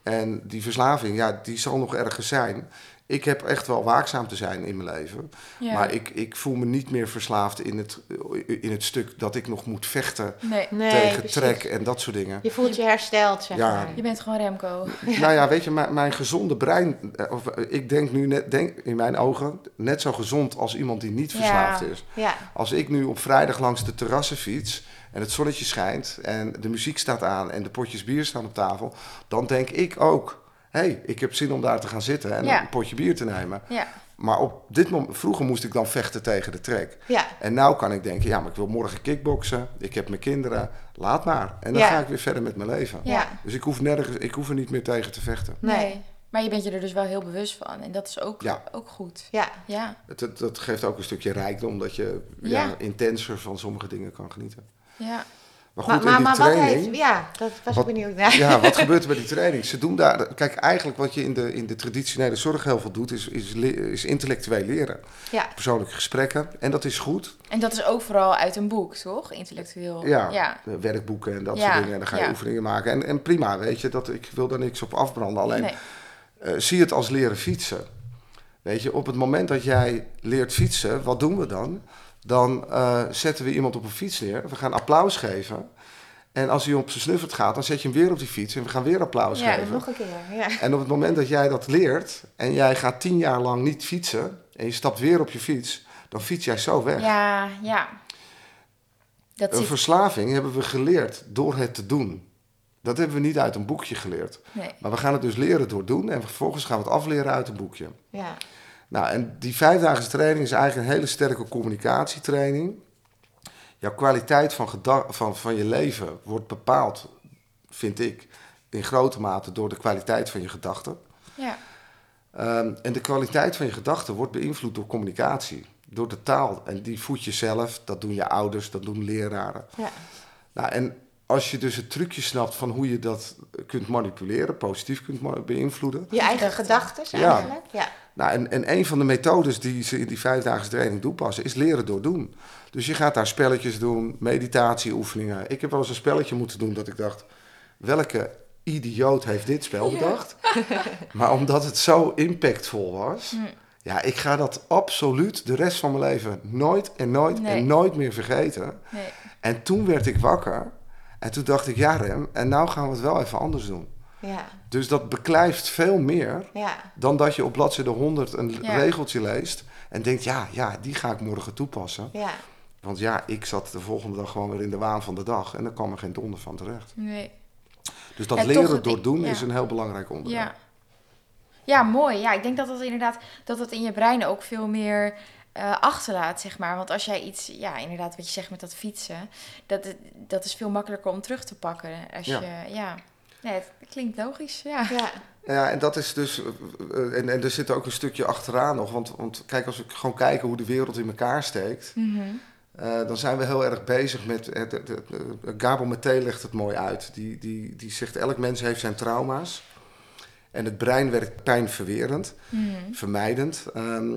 Speaker 1: En die verslaving, ja, die zal nog ergens zijn. Ik heb echt wel waakzaam te zijn in mijn leven.
Speaker 4: Ja.
Speaker 1: Maar ik, ik voel me niet meer verslaafd in het, in het stuk dat ik nog moet vechten
Speaker 4: Nee.
Speaker 2: Nee,
Speaker 1: tegen
Speaker 2: precies.
Speaker 1: trek en dat soort dingen.
Speaker 2: Je voelt je hersteld, zeg
Speaker 1: Ja.
Speaker 2: maar.
Speaker 4: Je bent gewoon Remco.
Speaker 1: Nou ja, weet je, mijn, mijn gezonde brein, eh, of, eh, ik denk nu net, denk, in mijn ogen, net zo gezond als iemand die niet
Speaker 4: Ja.
Speaker 1: verslaafd is.
Speaker 2: Ja.
Speaker 1: Als ik nu op vrijdag langs de terrassen fiets en het zonnetje schijnt en de muziek staat aan en de potjes bier staan op tafel, dan denk ik ook, hé, hey, ik heb zin om daar te gaan zitten en
Speaker 4: Ja.
Speaker 1: een potje bier te nemen.
Speaker 4: Ja.
Speaker 1: Maar op dit moment, vroeger moest ik dan vechten tegen de trek.
Speaker 2: Ja.
Speaker 1: En nou kan ik denken, ja, maar ik wil morgen kickboksen, ik heb mijn kinderen, laat maar. En dan
Speaker 2: Ja.
Speaker 1: ga ik weer verder met mijn leven.
Speaker 4: Ja.
Speaker 1: Dus ik hoef, nergens, ik hoef er niet meer tegen te vechten.
Speaker 2: Nee.
Speaker 4: Nee. Maar je bent je er dus wel heel bewust van. En dat is ook,
Speaker 1: Ja.
Speaker 4: ook goed.
Speaker 2: Ja.
Speaker 4: Ja.
Speaker 1: Het- het- dat geeft ook een stukje rijkdom, dat je ja.
Speaker 4: Ja.
Speaker 1: intenser van sommige dingen kan genieten.
Speaker 4: Ja.
Speaker 1: Maar goed,
Speaker 2: Maar, maar,
Speaker 1: in die
Speaker 2: maar wat
Speaker 1: training...
Speaker 2: heeft... Ja, dat was
Speaker 1: Wat-
Speaker 2: ik benieuwd naar.
Speaker 1: Ja, wat gebeurt er bij die training? Ze doen daar, kijk, eigenlijk wat je in de, in de traditionele zorg heel veel doet, is, is, le- is intellectueel leren.
Speaker 2: Ja.
Speaker 1: Persoonlijke gesprekken. En dat is goed.
Speaker 4: En dat is ook vooral uit een boek, toch? Intellectueel.
Speaker 1: Ja,
Speaker 4: Ja.
Speaker 1: de werkboeken en dat
Speaker 4: Ja,
Speaker 1: soort dingen. En dan ga je
Speaker 4: ja.
Speaker 1: oefeningen maken. En, en prima, weet je, dat, ik wil daar niks op afbranden. Alleen
Speaker 4: Nee.
Speaker 1: eh, zie het als leren fietsen. Weet je, op het moment dat jij leert fietsen, wat doen we dan? Dan eh, zetten we iemand op een fiets neer. We gaan applaus geven. En als hij op zijn snuffert gaat, dan zet je hem weer op die fiets en we gaan weer applaus
Speaker 4: Ja,
Speaker 1: geven.
Speaker 2: Nog een keer, ja.
Speaker 1: En op het moment dat jij dat leert en jij gaat tien jaar lang niet fietsen en je stapt weer op je fiets, dan fiets jij zo weg.
Speaker 4: Ja, ja. Dat
Speaker 1: een
Speaker 4: zit...
Speaker 1: verslaving hebben we geleerd door het te doen. Dat hebben we niet uit een boekje geleerd.
Speaker 4: Nee.
Speaker 1: Maar we gaan het dus leren door doen en vervolgens gaan we het afleren uit een boekje.
Speaker 2: Ja.
Speaker 1: Nou, en die vijfdaagse training is eigenlijk een hele sterke communicatietraining. Jouw kwaliteit van, geda- van, van je leven wordt bepaald, vind ik, in grote mate door de kwaliteit van je gedachten.
Speaker 4: Ja.
Speaker 1: Ehm, en de kwaliteit van je gedachten wordt beïnvloed door communicatie, door de taal. En die voed je zelf, dat doen je ouders, dat doen leraren.
Speaker 2: Ja.
Speaker 1: Nou, en als je dus het trucje snapt van hoe je dat kunt manipuleren, positief kunt ma- beïnvloeden.
Speaker 2: Je eigen
Speaker 4: Gedachten.
Speaker 2: gedachten
Speaker 1: Ja.
Speaker 2: eigenlijk. Ja.
Speaker 1: Nou, en, en een van de methodes die ze in die vijfdaagse training toepassen, is leren door doen. Dus je gaat daar spelletjes doen, meditatieoefeningen. Ik heb wel eens een spelletje moeten doen dat ik dacht, welke idioot heeft dit spel bedacht? maar omdat het zo impactvol was, ja, ik ga dat absoluut de rest van mijn leven nooit en nooit
Speaker 4: Nee.
Speaker 1: en nooit meer vergeten.
Speaker 4: Nee.
Speaker 1: En toen werd ik wakker en toen dacht ik, ja Rem, en nou gaan we het wel even anders doen.
Speaker 2: Ja.
Speaker 1: Dus dat beklijft veel meer
Speaker 2: Ja.
Speaker 1: dan dat je op bladzijde 100 een
Speaker 4: Ja.
Speaker 1: regeltje leest en denkt, ja, ja, die ga ik morgen toepassen.
Speaker 2: Ja.
Speaker 1: Want ja, ik zat de volgende dag gewoon weer in de waan van de dag en dan kwam er geen donder van terecht.
Speaker 4: Nee.
Speaker 1: Dus dat
Speaker 4: En toch
Speaker 1: leren
Speaker 4: het-
Speaker 1: door doen
Speaker 4: ja.
Speaker 1: is een heel belangrijk onderdeel.
Speaker 4: Ja. Ja, mooi. Ja, ik denk dat dat inderdaad dat dat in je brein ook veel meer eh, achterlaat, zeg maar. Want als jij iets, ja, inderdaad wat je zegt met dat fietsen, dat, het- dat is veel makkelijker om terug te pakken. Als
Speaker 1: Ja.
Speaker 4: je, ja. Nee, het klinkt logisch, ja.
Speaker 2: Ja.
Speaker 1: Ja, en dat is dus. eh, En, en er zit ook een stukje achteraan nog. Want, want kijk, als we gewoon kijken hoe de wereld in elkaar steekt. eh, dan zijn we heel erg bezig met. Het, het- het- eh, Gabor Maté legt het mooi uit. Die, die, die zegt: elk mens heeft zijn trauma's. En het brein werkt pijnverwerend, vermijdend. Ehm,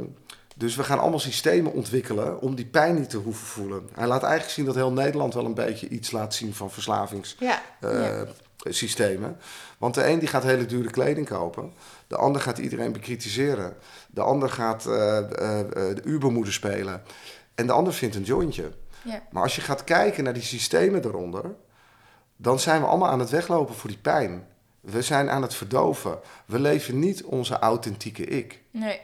Speaker 1: dus we gaan allemaal systemen ontwikkelen om die pijn niet te hoeven voelen. Hij laat eigenlijk zien dat heel Nederland wel een beetje iets laat zien van verslavings
Speaker 2: Ja.
Speaker 1: eh, systemen. Want de een die gaat hele dure kleding kopen. De ander gaat iedereen bekritiseren. De ander gaat eh, eh, eh, de Ubermoeder spelen. En de ander vindt een jointje.
Speaker 4: Ja.
Speaker 1: Maar als je gaat kijken naar die systemen daaronder, dan zijn we allemaal aan het weglopen voor die pijn. We zijn aan het verdoven. We leven niet onze authentieke ik.
Speaker 4: Nee.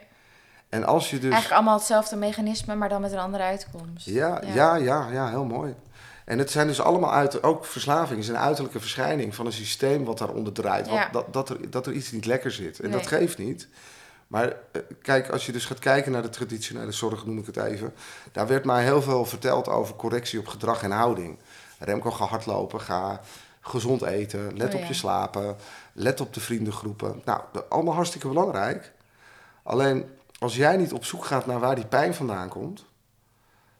Speaker 1: En als je dus.
Speaker 4: Eigenlijk allemaal hetzelfde mechanisme, maar dan met een andere uitkomst.
Speaker 1: Ja, ja, ja, ja, heel mooi. En het zijn dus allemaal uit, ook verslaving is een uiterlijke verschijning van een systeem wat daaronder draait. Wat-
Speaker 4: Ja.
Speaker 1: dat, dat, er, dat er iets niet lekker zit. En
Speaker 4: Nee.
Speaker 1: dat geeft niet. Maar eh, kijk, als je dus gaat kijken naar de traditionele zorg, noem ik het even. Daar werd mij heel veel verteld over correctie op gedrag en houding. Remco, ga hardlopen, ga gezond eten, let
Speaker 4: Oh
Speaker 1: op
Speaker 4: ja.
Speaker 1: je slapen, let op de vriendengroepen. Nou, dat- allemaal hartstikke belangrijk. Alleen, als jij niet op zoek gaat naar waar die pijn vandaan komt,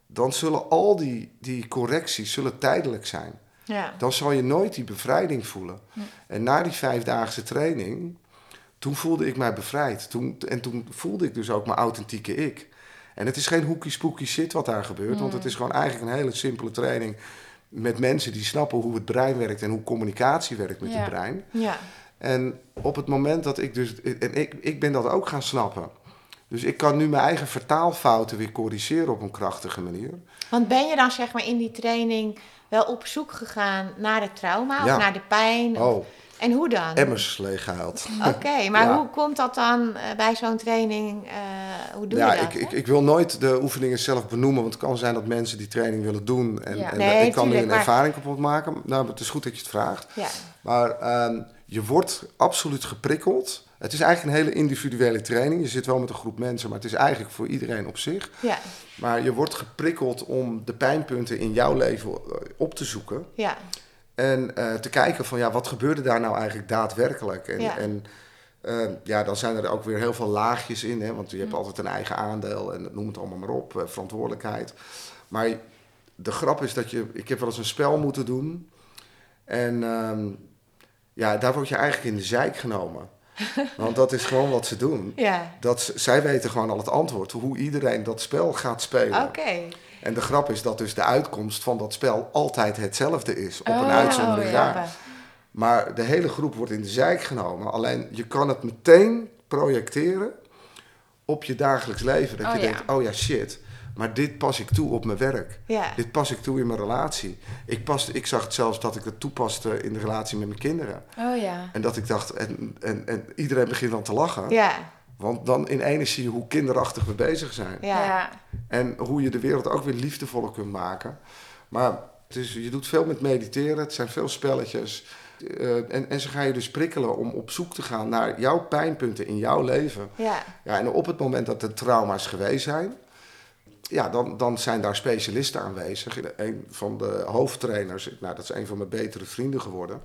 Speaker 1: dan zullen al die, die correcties zullen tijdelijk zijn.
Speaker 2: Ja.
Speaker 1: Dan zal je nooit die bevrijding voelen. En na die vijfdaagse training, toen voelde ik mij bevrijd. Toen, en toen voelde ik dus ook mijn authentieke ik. En het is geen hoekie spooky shit wat daar gebeurt, want het is gewoon eigenlijk een hele simpele training met mensen die snappen hoe het brein werkt en hoe communicatie werkt met
Speaker 4: Ja.
Speaker 1: het brein.
Speaker 2: Ja.
Speaker 1: En op het moment dat ik dus. En ik, ik ben dat ook gaan snappen. Dus ik kan nu mijn eigen vertaalfouten weer corrigeren op een krachtige manier.
Speaker 2: Want ben je dan zeg maar in die training wel op zoek gegaan naar het trauma
Speaker 1: Ja.
Speaker 2: of naar de pijn? of-
Speaker 1: Oh,
Speaker 2: En hoe dan?
Speaker 1: emmers leeggehaald.
Speaker 2: Oké, maar
Speaker 1: Ja.
Speaker 2: hoe komt dat dan eh, bij zo'n training? eh, hoe doe
Speaker 1: ja,
Speaker 2: je dat?
Speaker 1: ik, ik,
Speaker 2: hè?
Speaker 1: ik wil nooit de oefeningen zelf benoemen, want het kan zijn dat mensen die training willen doen. En,
Speaker 4: Ja.
Speaker 1: en
Speaker 2: Nee,
Speaker 1: ik kan nu
Speaker 2: tuurlijk,
Speaker 1: een
Speaker 2: maar-
Speaker 1: ervaring kapot maken. Nou, het is goed dat je het vraagt.
Speaker 2: ja.
Speaker 1: Maar ehm, je wordt absoluut geprikkeld. Het is eigenlijk een hele individuele training. Je zit wel met een groep mensen, maar het is eigenlijk voor iedereen op zich.
Speaker 2: Ja,
Speaker 1: Maar je wordt geprikkeld om de pijnpunten in jouw leven eh, op te zoeken.
Speaker 2: ja,
Speaker 1: En eh, te kijken van ja, wat gebeurde daar nou eigenlijk daadwerkelijk? En,
Speaker 2: Ja.
Speaker 1: en eh, ja, dan zijn er ook weer heel veel laagjes in, hè, want je
Speaker 2: Mm.
Speaker 1: hebt altijd een eigen aandeel en noem het allemaal maar op, eh, verantwoordelijkheid. Maar de grap is dat je, ik heb wel eens een spel moeten doen en ehm, ja, daar word je eigenlijk in de zeik genomen. Want dat is gewoon wat ze doen.
Speaker 2: ja.
Speaker 1: Dat, ze- zij weten gewoon al het antwoord, hoe iedereen dat spel gaat spelen.
Speaker 2: Oké.
Speaker 1: En de grap is dat dus de uitkomst van dat spel altijd hetzelfde is, op een
Speaker 4: Oh,
Speaker 1: uitzondering
Speaker 4: ja.
Speaker 1: daar. Maar de hele groep wordt in de zijk genomen. Alleen je kan het meteen projecteren op je dagelijks leven. Dat
Speaker 4: Oh,
Speaker 1: je
Speaker 4: ja.
Speaker 1: denkt, oh ja, shit, maar dit pas ik toe op mijn werk.
Speaker 2: Ja,
Speaker 1: Dit pas ik toe in mijn relatie. Ik, pas, ik zag het zelfs dat ik het toepaste in de relatie met mijn kinderen.
Speaker 4: Oh ja.
Speaker 1: En dat ik dacht, en, en, en iedereen begint dan te lachen.
Speaker 2: ja,
Speaker 1: Want dan ineens zie je hoe kinderachtig we bezig zijn.
Speaker 4: Ja.
Speaker 2: ja.
Speaker 1: En hoe je de wereld ook weer liefdevoller kunt maken. Maar het is, je doet veel met mediteren, het zijn veel spelletjes. Eh, en, en ze gaan je dus prikkelen om op zoek te gaan naar jouw pijnpunten in jouw leven.
Speaker 2: ja.
Speaker 1: Ja, en op het moment dat er trauma's geweest zijn, ja, dan, dan zijn daar specialisten aanwezig. Een van de hoofdtrainers, nou, dat is een van mijn betere vrienden geworden.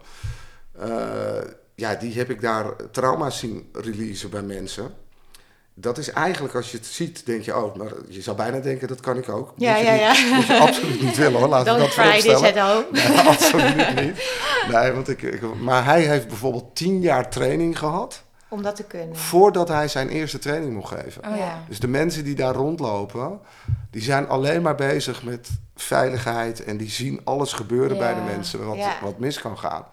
Speaker 1: Eh, ja, die heb ik daar trauma's zien releasen bij mensen. Dat is eigenlijk, als je het ziet, denk je, oh, maar je zou bijna denken, dat kan ik ook.
Speaker 2: Ja,
Speaker 1: Moet je
Speaker 2: ja,
Speaker 1: niet-
Speaker 2: ja.
Speaker 1: Moet je absoluut niet willen, hoor. Laten we
Speaker 2: Don't
Speaker 1: dat
Speaker 2: try
Speaker 1: vooropstellen.
Speaker 2: this at home.
Speaker 1: Nee, absoluut niet. Nee, want ik, ik- maar hij heeft bijvoorbeeld tien jaar training gehad
Speaker 2: Om dat te kunnen.
Speaker 1: voordat hij zijn eerste training mocht geven.
Speaker 4: Oh ja.
Speaker 1: Dus de mensen die daar rondlopen, die zijn alleen maar bezig met veiligheid en die zien alles gebeuren
Speaker 4: Ja.
Speaker 1: bij
Speaker 4: Hm.
Speaker 1: de mensen wat,
Speaker 2: Ja.
Speaker 1: wat mis kan gaan.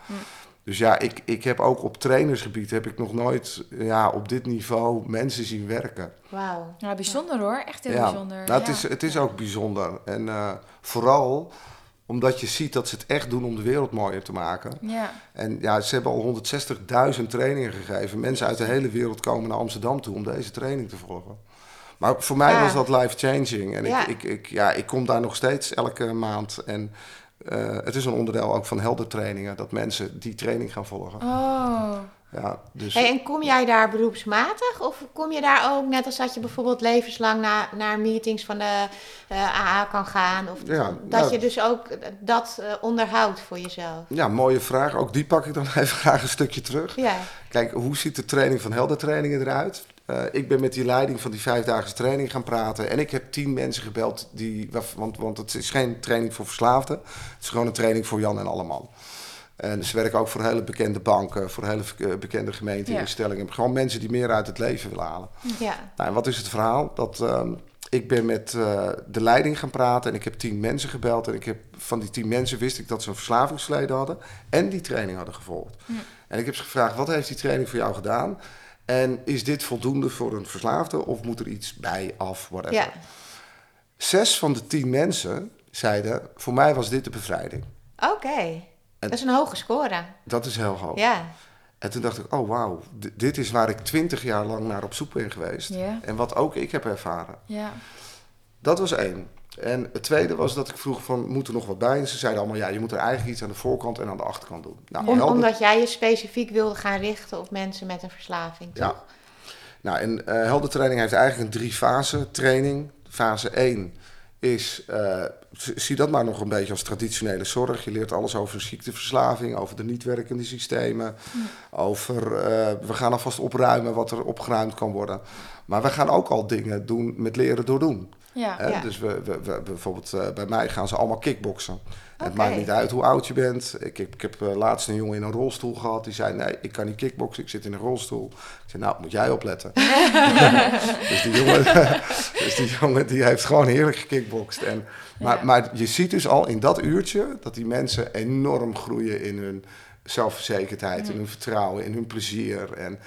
Speaker 1: Dus ja, ik, ik heb ook op trainersgebied heb ik nog nooit ja, op dit niveau mensen zien werken.
Speaker 2: Wauw.
Speaker 4: Nou, bijzonder hoor. Echt heel
Speaker 1: ja.
Speaker 4: bijzonder.
Speaker 1: Nou, het,
Speaker 4: Ja.
Speaker 1: is, het is ook bijzonder. En eh, vooral omdat je ziet dat ze het echt doen om de wereld mooier te maken.
Speaker 4: Ja.
Speaker 1: En ja, ze hebben al 160.000 trainingen gegeven. Mensen uit de hele wereld komen naar Amsterdam toe om deze training te volgen. Maar voor mij
Speaker 2: Ja.
Speaker 1: was dat life-changing. En
Speaker 2: Ja.
Speaker 1: Ik, ik, ik, ja, ik kom daar nog steeds elke maand. En eh, het is een onderdeel ook van helder trainingen, dat mensen die training gaan volgen.
Speaker 4: Oh.
Speaker 1: Ja, dus,
Speaker 2: Hey, en kom jij daar beroepsmatig of kom je daar ook, net als dat je bijvoorbeeld levenslang na, naar meetings van de eh, AA kan gaan? Of
Speaker 1: Ja,
Speaker 2: dat
Speaker 1: nou-
Speaker 2: je dus ook dat eh, onderhoudt voor jezelf?
Speaker 1: ja, mooie vraag. Ook die pak ik dan even graag een stukje terug.
Speaker 2: Ja,
Speaker 1: Kijk, hoe ziet de training van helder trainingen eruit? Eh, ik ben met die leiding van die vijfdaagse training gaan praten. En ik heb tien mensen gebeld, die, waf- want, want het is geen training voor verslaafden. Het is gewoon een training voor Jan en Alleman. En ze werken ook voor hele bekende banken, voor hele eh, bekende
Speaker 4: Ja.
Speaker 1: gemeenteinstellingen. Gewoon mensen die meer uit het leven willen halen.
Speaker 2: ja,
Speaker 1: Nou, en wat is het verhaal? Dat, ehm, ik ben met eh, de leiding gaan praten en ik heb tien mensen gebeld. En ik heb, van die tien mensen wist ik dat ze een verslavingsverleden hadden en die training hadden gevolgd. En ik heb ze gevraagd, wat heeft die training voor jou gedaan? En is dit voldoende voor een verslaafde of moet er iets bij af, whatever?
Speaker 2: ja.
Speaker 1: Zes van de tien mensen zeiden, voor mij was dit de bevrijding.
Speaker 2: Oké, dat is een hoge score.
Speaker 1: Dat is heel hoog.
Speaker 2: Ja,
Speaker 1: En toen dacht ik, oh wauw, d- dit is waar ik twintig jaar lang naar op zoek ben geweest.
Speaker 4: Ja.
Speaker 1: En wat ook ik heb ervaren.
Speaker 4: Ja.
Speaker 1: Dat was één. En het tweede was dat ik vroeg van, moet er nog wat bij? En ze zeiden allemaal, ja, je moet er eigenlijk iets aan de voorkant en aan de achterkant doen. Nou,
Speaker 2: Om-
Speaker 1: helder-
Speaker 2: omdat jij je specifiek wilde gaan richten op mensen met een verslaving.
Speaker 1: Ja.
Speaker 2: toch?
Speaker 1: Nou, en eh heldertraining heeft eigenlijk een drie-fase training. Fase 1 is, eh, z- zie dat maar nog een beetje als traditionele zorg. Je leert alles over ziekteverslaving, over de niet werkende systemen. Over, eh, we gaan alvast opruimen wat er opgeruimd kan worden. Maar we gaan ook al dingen doen met leren door doen.
Speaker 4: Ja.
Speaker 1: Hè?
Speaker 2: Ja.
Speaker 1: Dus we, we, we- bijvoorbeeld eh, bij mij gaan ze allemaal kickboksen. En Het
Speaker 2: Oké.
Speaker 1: maakt niet uit hoe oud je bent. Ik, heb- ik heb eh, laatst een jongen in een rolstoel gehad. Die zei, nee, ik kan niet kickboksen. Ik zit in een rolstoel. Ik zei, nou, moet jij opletten. dus, die jongen, dus die jongen die heeft gewoon heerlijk gekickbokst. En, maar,
Speaker 4: Ja.
Speaker 1: maar je ziet dus al in dat uurtje dat die mensen enorm groeien in hun zelfverzekerdheid en hun vertrouwen en hun plezier. En,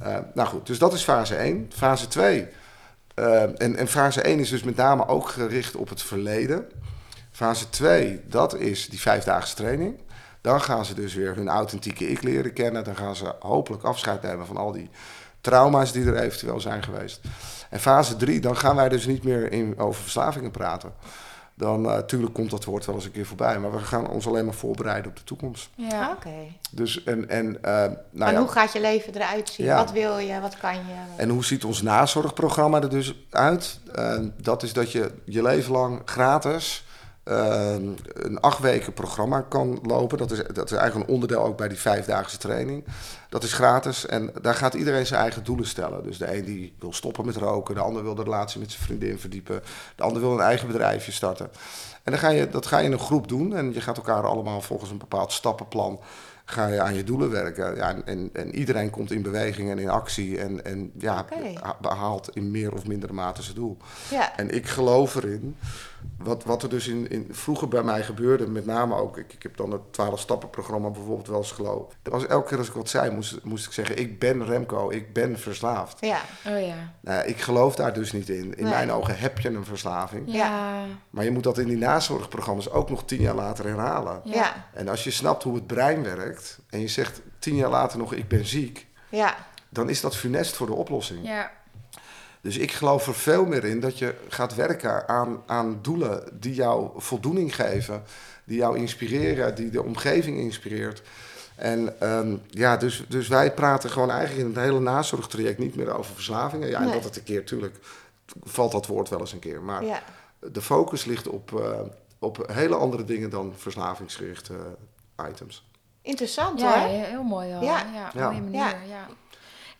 Speaker 1: eh, nou goed, dus dat is fase 1. Fase 2. eh, en, en fase 1 is dus met name ook gericht op het verleden. Fase 2, dat is die vijfdaagse training. Dan gaan ze dus weer hun authentieke ik leren kennen. Dan gaan ze hopelijk afscheid nemen van al die trauma's die er eventueel zijn geweest. En fase 3, dan gaan wij dus niet meer in, over verslavingen praten. Dan natuurlijk komt dat woord wel eens een keer voorbij. Maar we gaan ons alleen maar voorbereiden op de toekomst.
Speaker 4: Ja.
Speaker 2: Oké.
Speaker 1: Dus en, en, eh, nou
Speaker 2: maar
Speaker 1: ja,
Speaker 2: hoe gaat je leven eruit zien?
Speaker 1: Ja.
Speaker 2: Wat wil je? Wat kan je?
Speaker 1: en hoe ziet ons nazorgprogramma er dus uit? Eh, dat is dat je je leven lang gratis eh, een acht weken programma kan lopen. Dat is, dat is eigenlijk een onderdeel ook bij die vijfdaagse training. Dat is gratis en daar gaat iedereen zijn eigen doelen stellen. Dus de een die wil stoppen met roken, de ander wil de relatie met zijn vriendin verdiepen, de ander wil een eigen bedrijfje starten. En dan ga je, dat ga je in een groep doen en je gaat elkaar allemaal volgens een bepaald stappenplan ga je aan je doelen werken. Ja, en- en, en iedereen komt in beweging en in actie en, en ja,
Speaker 2: Oké.
Speaker 1: ha- behaalt in meer of mindere mate zijn doel.
Speaker 2: Ja.
Speaker 1: En ik geloof erin, wat, wat er dus in, in, vroeger bij mij gebeurde, met name ook, ik, ik heb dan het 12 stappen programma bijvoorbeeld wel eens geloofd. Dat was elke keer als ik wat zei, moest, moest ik zeggen, ik ben Remco, ik ben verslaafd.
Speaker 2: Ja.
Speaker 4: Oh ja.
Speaker 1: Nou, ik geloof daar dus niet in. In
Speaker 2: Nee.
Speaker 1: mijn ogen heb je een verslaving.
Speaker 4: Ja.
Speaker 1: Maar je moet dat in die nazorgprogramma's ook nog tien jaar later herhalen.
Speaker 4: Ja.
Speaker 2: Ja.
Speaker 1: En als je snapt hoe het brein werkt en je zegt tien jaar later nog ik ben ziek,
Speaker 2: Ja.
Speaker 1: dan is dat funest voor de oplossing.
Speaker 4: Ja.
Speaker 1: Dus ik geloof er veel meer in dat je gaat werken aan, aan doelen die jou voldoening geven, die jou inspireren, die de omgeving inspireert. En ehm, ja, dus, dus wij praten gewoon eigenlijk in het hele nazorgtraject niet meer over verslavingen. Ja, en
Speaker 2: Nee.
Speaker 1: dat het een keer, tuurlijk, valt dat woord wel eens een keer. Maar
Speaker 2: Ja.
Speaker 1: de focus ligt op, eh, op hele andere dingen dan verslavingsgerichte eh, items.
Speaker 2: Interessant
Speaker 4: Ja,
Speaker 2: hoor.
Speaker 4: he- heel mooi hoor.
Speaker 2: Ja.
Speaker 4: Ja, ja,
Speaker 1: Ja.
Speaker 4: mooie manier.
Speaker 2: Ja.
Speaker 4: Ja.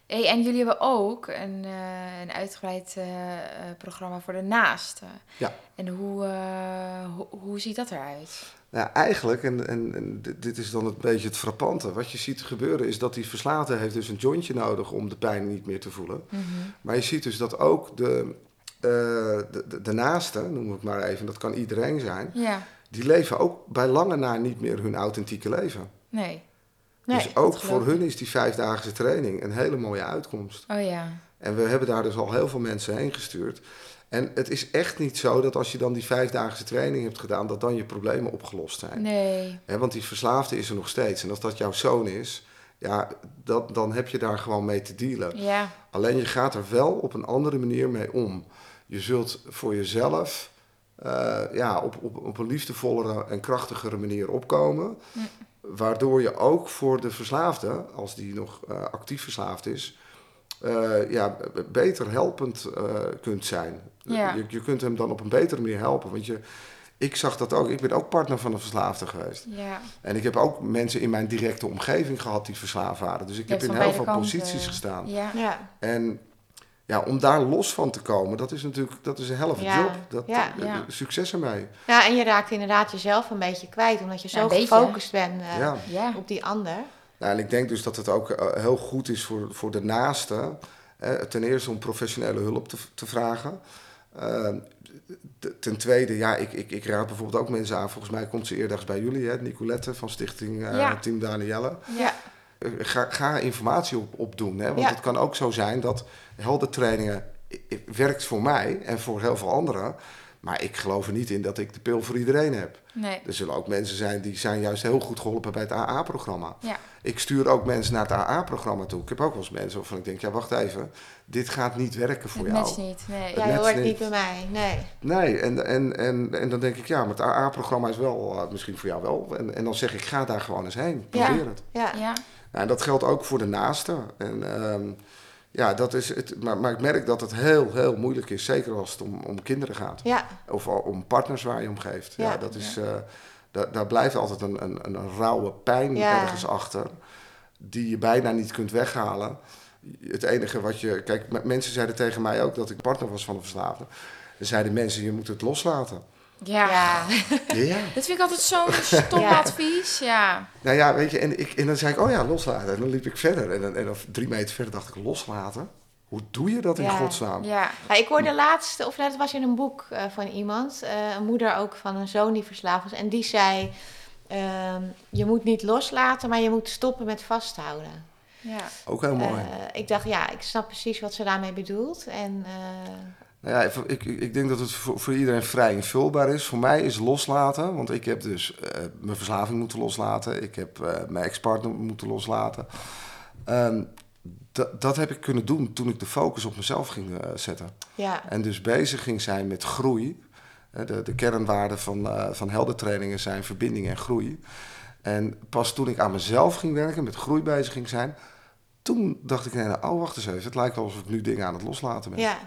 Speaker 4: Hey, en jullie hebben ook een, eh, een uitgebreid eh, eh, programma voor de naasten.
Speaker 1: Ja.
Speaker 4: En hoe, eh, ho- hoe ziet dat eruit?
Speaker 1: Nou, eigenlijk, en, en, en dit- dit is dan een beetje het frappante. Wat je ziet gebeuren is dat die verslaafde heeft dus een jointje nodig om de pijn niet meer te voelen.
Speaker 4: Mhm.
Speaker 1: Maar je ziet dus dat ook de, eh de, de, de naaste, noem het maar even, dat kan iedereen zijn.
Speaker 4: Ja,
Speaker 1: Die leven ook bij lange na niet meer hun authentieke leven.
Speaker 4: nee.
Speaker 2: Nee.
Speaker 1: dus ook
Speaker 4: dat
Speaker 1: voor
Speaker 4: geloof
Speaker 1: hun is die vijfdaagse training een hele mooie uitkomst.
Speaker 4: Oh ja.
Speaker 1: En we hebben daar dus al heel veel mensen heen gestuurd. En het is echt niet zo dat als je dan die vijfdaagse training hebt gedaan, dat dan je problemen opgelost zijn.
Speaker 4: Nee.
Speaker 1: Hè, want die verslaafde is er nog steeds. En als dat jouw zoon is, ja, dat, dan heb je daar gewoon mee te dealen.
Speaker 4: Ja.
Speaker 1: Alleen je gaat er wel op een andere manier mee om. Je zult voor jezelf eh, ja, op, op, op een liefdevollere en krachtigere manier opkomen. Waardoor je ook voor de verslaafde, als die nog eh, actief verslaafd is, eh, ja, b- beter helpend eh, kunt zijn.
Speaker 4: Ja.
Speaker 1: Je, je kunt hem dan op een betere manier helpen. Want je, ik zag dat ook. Ik ben ook partner van een verslaafde geweest.
Speaker 4: Ja.
Speaker 1: En ik heb ook mensen in mijn directe omgeving gehad die verslaafd waren. Dus ik
Speaker 4: Je
Speaker 1: heb
Speaker 4: hebt
Speaker 1: in
Speaker 4: van
Speaker 1: heel
Speaker 4: beide
Speaker 1: veel
Speaker 4: kanten. eh,
Speaker 1: posities gestaan.
Speaker 4: Ja.
Speaker 2: Ja.
Speaker 1: En ja, om daar los van te komen, dat is natuurlijk dat is een helft
Speaker 2: Ja,
Speaker 1: job. Dat,
Speaker 2: ja,
Speaker 1: eh,
Speaker 4: ja.
Speaker 1: Succes ermee.
Speaker 2: Ja, Nou, en je raakt inderdaad jezelf een beetje kwijt, omdat je
Speaker 4: Ja,
Speaker 2: zo
Speaker 4: een beetje.
Speaker 2: gefocust bent eh,
Speaker 1: ja.
Speaker 4: Ja.
Speaker 2: op die ander.
Speaker 1: Nou, en ik denk dus dat het ook eh, heel goed is voor, voor de naaste. eh, ten eerste om professionele hulp te, te vragen. Eh, t- ten tweede, ja, ik, ik, ik raad bijvoorbeeld ook mensen aan. Volgens mij komt ze eerdags bij jullie, hè, Nicolette van Stichting eh,
Speaker 4: Ja.
Speaker 1: Team Danielle.
Speaker 2: Ja.
Speaker 1: Eh, Ga, ga informatie op, opdoen. Hè? Want
Speaker 2: Ja.
Speaker 1: het kan ook zo zijn dat heldentrainingen i- i- werkt voor mij en voor heel veel anderen. Maar ik geloof er niet in dat ik de pil voor iedereen heb.
Speaker 4: Nee.
Speaker 1: Er zullen ook mensen zijn die zijn juist heel goed geholpen bij het AA-programma.
Speaker 4: Ja.
Speaker 1: Ik stuur ook mensen naar het AA-programma toe. Ik heb ook wel eens mensen waarvan ik denk, ja wacht even, dit gaat niet werken voor
Speaker 4: Het
Speaker 1: jou.
Speaker 4: matcht niet. Nee.
Speaker 1: Ja.
Speaker 2: Jij
Speaker 1: net
Speaker 2: hoort
Speaker 1: niet.
Speaker 2: niet. bij mij. Nee.
Speaker 1: Nee, en, en, en, en dan denk ik, ja, maar het AA-programma is wel, eh, misschien voor jou wel. En, en dan zeg ik, ga daar gewoon eens heen,
Speaker 2: Ja.
Speaker 1: probeer het.
Speaker 2: Ja.
Speaker 4: Ja.
Speaker 1: Nou, en dat geldt ook voor de naasten. En, ehm, ja, dat is het, maar, maar ik merk dat het heel, heel moeilijk is, zeker als het om, om kinderen gaat.
Speaker 2: Ja.
Speaker 1: Of al- om partners waar je om geeft. Ja,
Speaker 2: Ja.
Speaker 1: dat is, eh, da- daar blijft altijd een, een, een rauwe pijn
Speaker 2: Ja.
Speaker 1: ergens achter, die je bijna niet kunt weghalen. Het enige wat je. Kijk, m- mensen zeiden tegen mij ook dat ik partner was van een verslaafde. Dan zeiden mensen: je moet het loslaten.
Speaker 4: Ja.
Speaker 2: Ja.
Speaker 1: Ja.
Speaker 4: Dat vind ik altijd zo'n stom
Speaker 2: Ja.
Speaker 4: advies. Ja.
Speaker 1: Nou ja, weet je, en, ik, en dan zei ik, oh ja, loslaten. En dan liep ik verder. En, dan- en dan drie meter verder dacht ik, loslaten? Hoe doe je dat in
Speaker 2: Ja,
Speaker 1: godsnaam?
Speaker 4: Ja.
Speaker 2: Ja, Nou, ik hoorde laatst, of dat was in een boek eh, van iemand, eh, een moeder ook van een zoon die verslaafd was. En die zei, Ehm, je moet niet loslaten, maar je moet stoppen met vasthouden.
Speaker 4: Ja.
Speaker 1: Ook heel mooi.
Speaker 2: Eh, ik dacht, ja, ik snap precies wat ze daarmee bedoelt. En eh,
Speaker 1: Nou ja, ik, ik, ik denk dat het voor, voor iedereen vrij invulbaar is. Voor mij is loslaten, want ik heb dus eh, mijn verslaving moeten loslaten. Ik heb eh, mijn ex-partner moeten loslaten. Ehm, da- dat heb ik kunnen doen toen ik de focus op mezelf ging eh, zetten.
Speaker 2: ja,
Speaker 1: En dus bezig ging zijn met groei. Eh, De, de kernwaarden van, eh, van heldentrainingen zijn verbinding en groei. En pas toen ik aan mezelf ging werken, met groei bezig ging zijn... toen dacht ik, nee, nou, oh, wacht eens even. Het lijkt wel alsof ik nu dingen aan het loslaten ben.
Speaker 2: ja.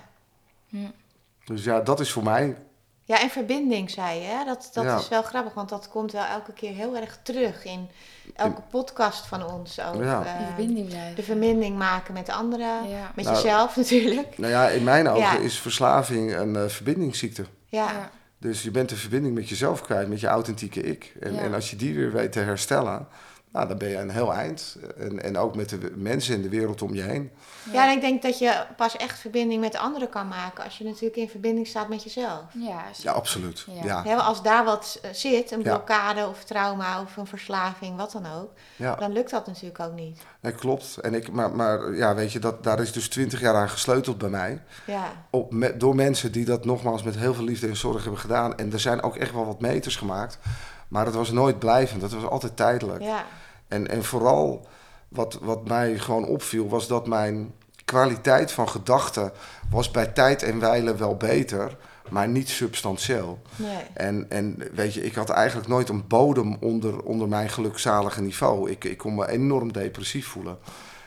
Speaker 1: Dus ja, dat is voor mij.
Speaker 2: Ja, en verbinding, zei je. Hè? Dat, dat
Speaker 1: Ja.
Speaker 2: is wel grappig, want dat komt wel elke keer heel erg terug in elke podcast van ons. Ook,
Speaker 1: Ja.
Speaker 2: eh,
Speaker 4: Die verbinding blijven.
Speaker 2: de verbinding maken met anderen,
Speaker 4: Ja.
Speaker 2: met
Speaker 1: Nou,
Speaker 2: jezelf natuurlijk.
Speaker 1: Nou ja, in mijn ogen
Speaker 2: Ja.
Speaker 1: is verslaving een eh, verbindingsziekte.
Speaker 2: Ja,
Speaker 4: Ja.
Speaker 2: ja.
Speaker 1: Dus je bent de verbinding met jezelf kwijt, met je authentieke ik. En,
Speaker 4: Ja.
Speaker 1: en als je die weer weet te herstellen, nou, dan ben je een heel eind. En, en ook met de w- mensen in de wereld om je heen.
Speaker 2: en ik denk dat je pas echt verbinding met anderen kan maken als je natuurlijk in verbinding staat met jezelf.
Speaker 4: Ja,
Speaker 1: Ja, absoluut.
Speaker 4: Ja.
Speaker 1: Ja. Ja.
Speaker 2: Hè, als daar wat eh, zit, een
Speaker 1: Ja.
Speaker 2: blokkade of trauma of een verslaving, wat dan ook, dan lukt dat natuurlijk ook niet.
Speaker 1: Nee, klopt. En ik, maar, maar ja, weet je, dat, daar is dus twintig jaar aan gesleuteld bij mij.
Speaker 2: Ja,
Speaker 1: Op, met, door mensen die dat nogmaals met heel veel liefde en zorg hebben gedaan. En er zijn ook echt wel wat meters gemaakt. Maar dat was nooit blijvend. Dat was altijd tijdelijk.
Speaker 2: ja,
Speaker 1: En, en vooral wat, wat mij gewoon opviel, was dat mijn kwaliteit van gedachten was bij tijd en wijle wel beter, maar niet substantieel.
Speaker 2: nee.
Speaker 1: En, en weet je, ik had eigenlijk nooit een bodem onder, onder mijn gelukzalige niveau. Ik, ik kon me enorm depressief voelen.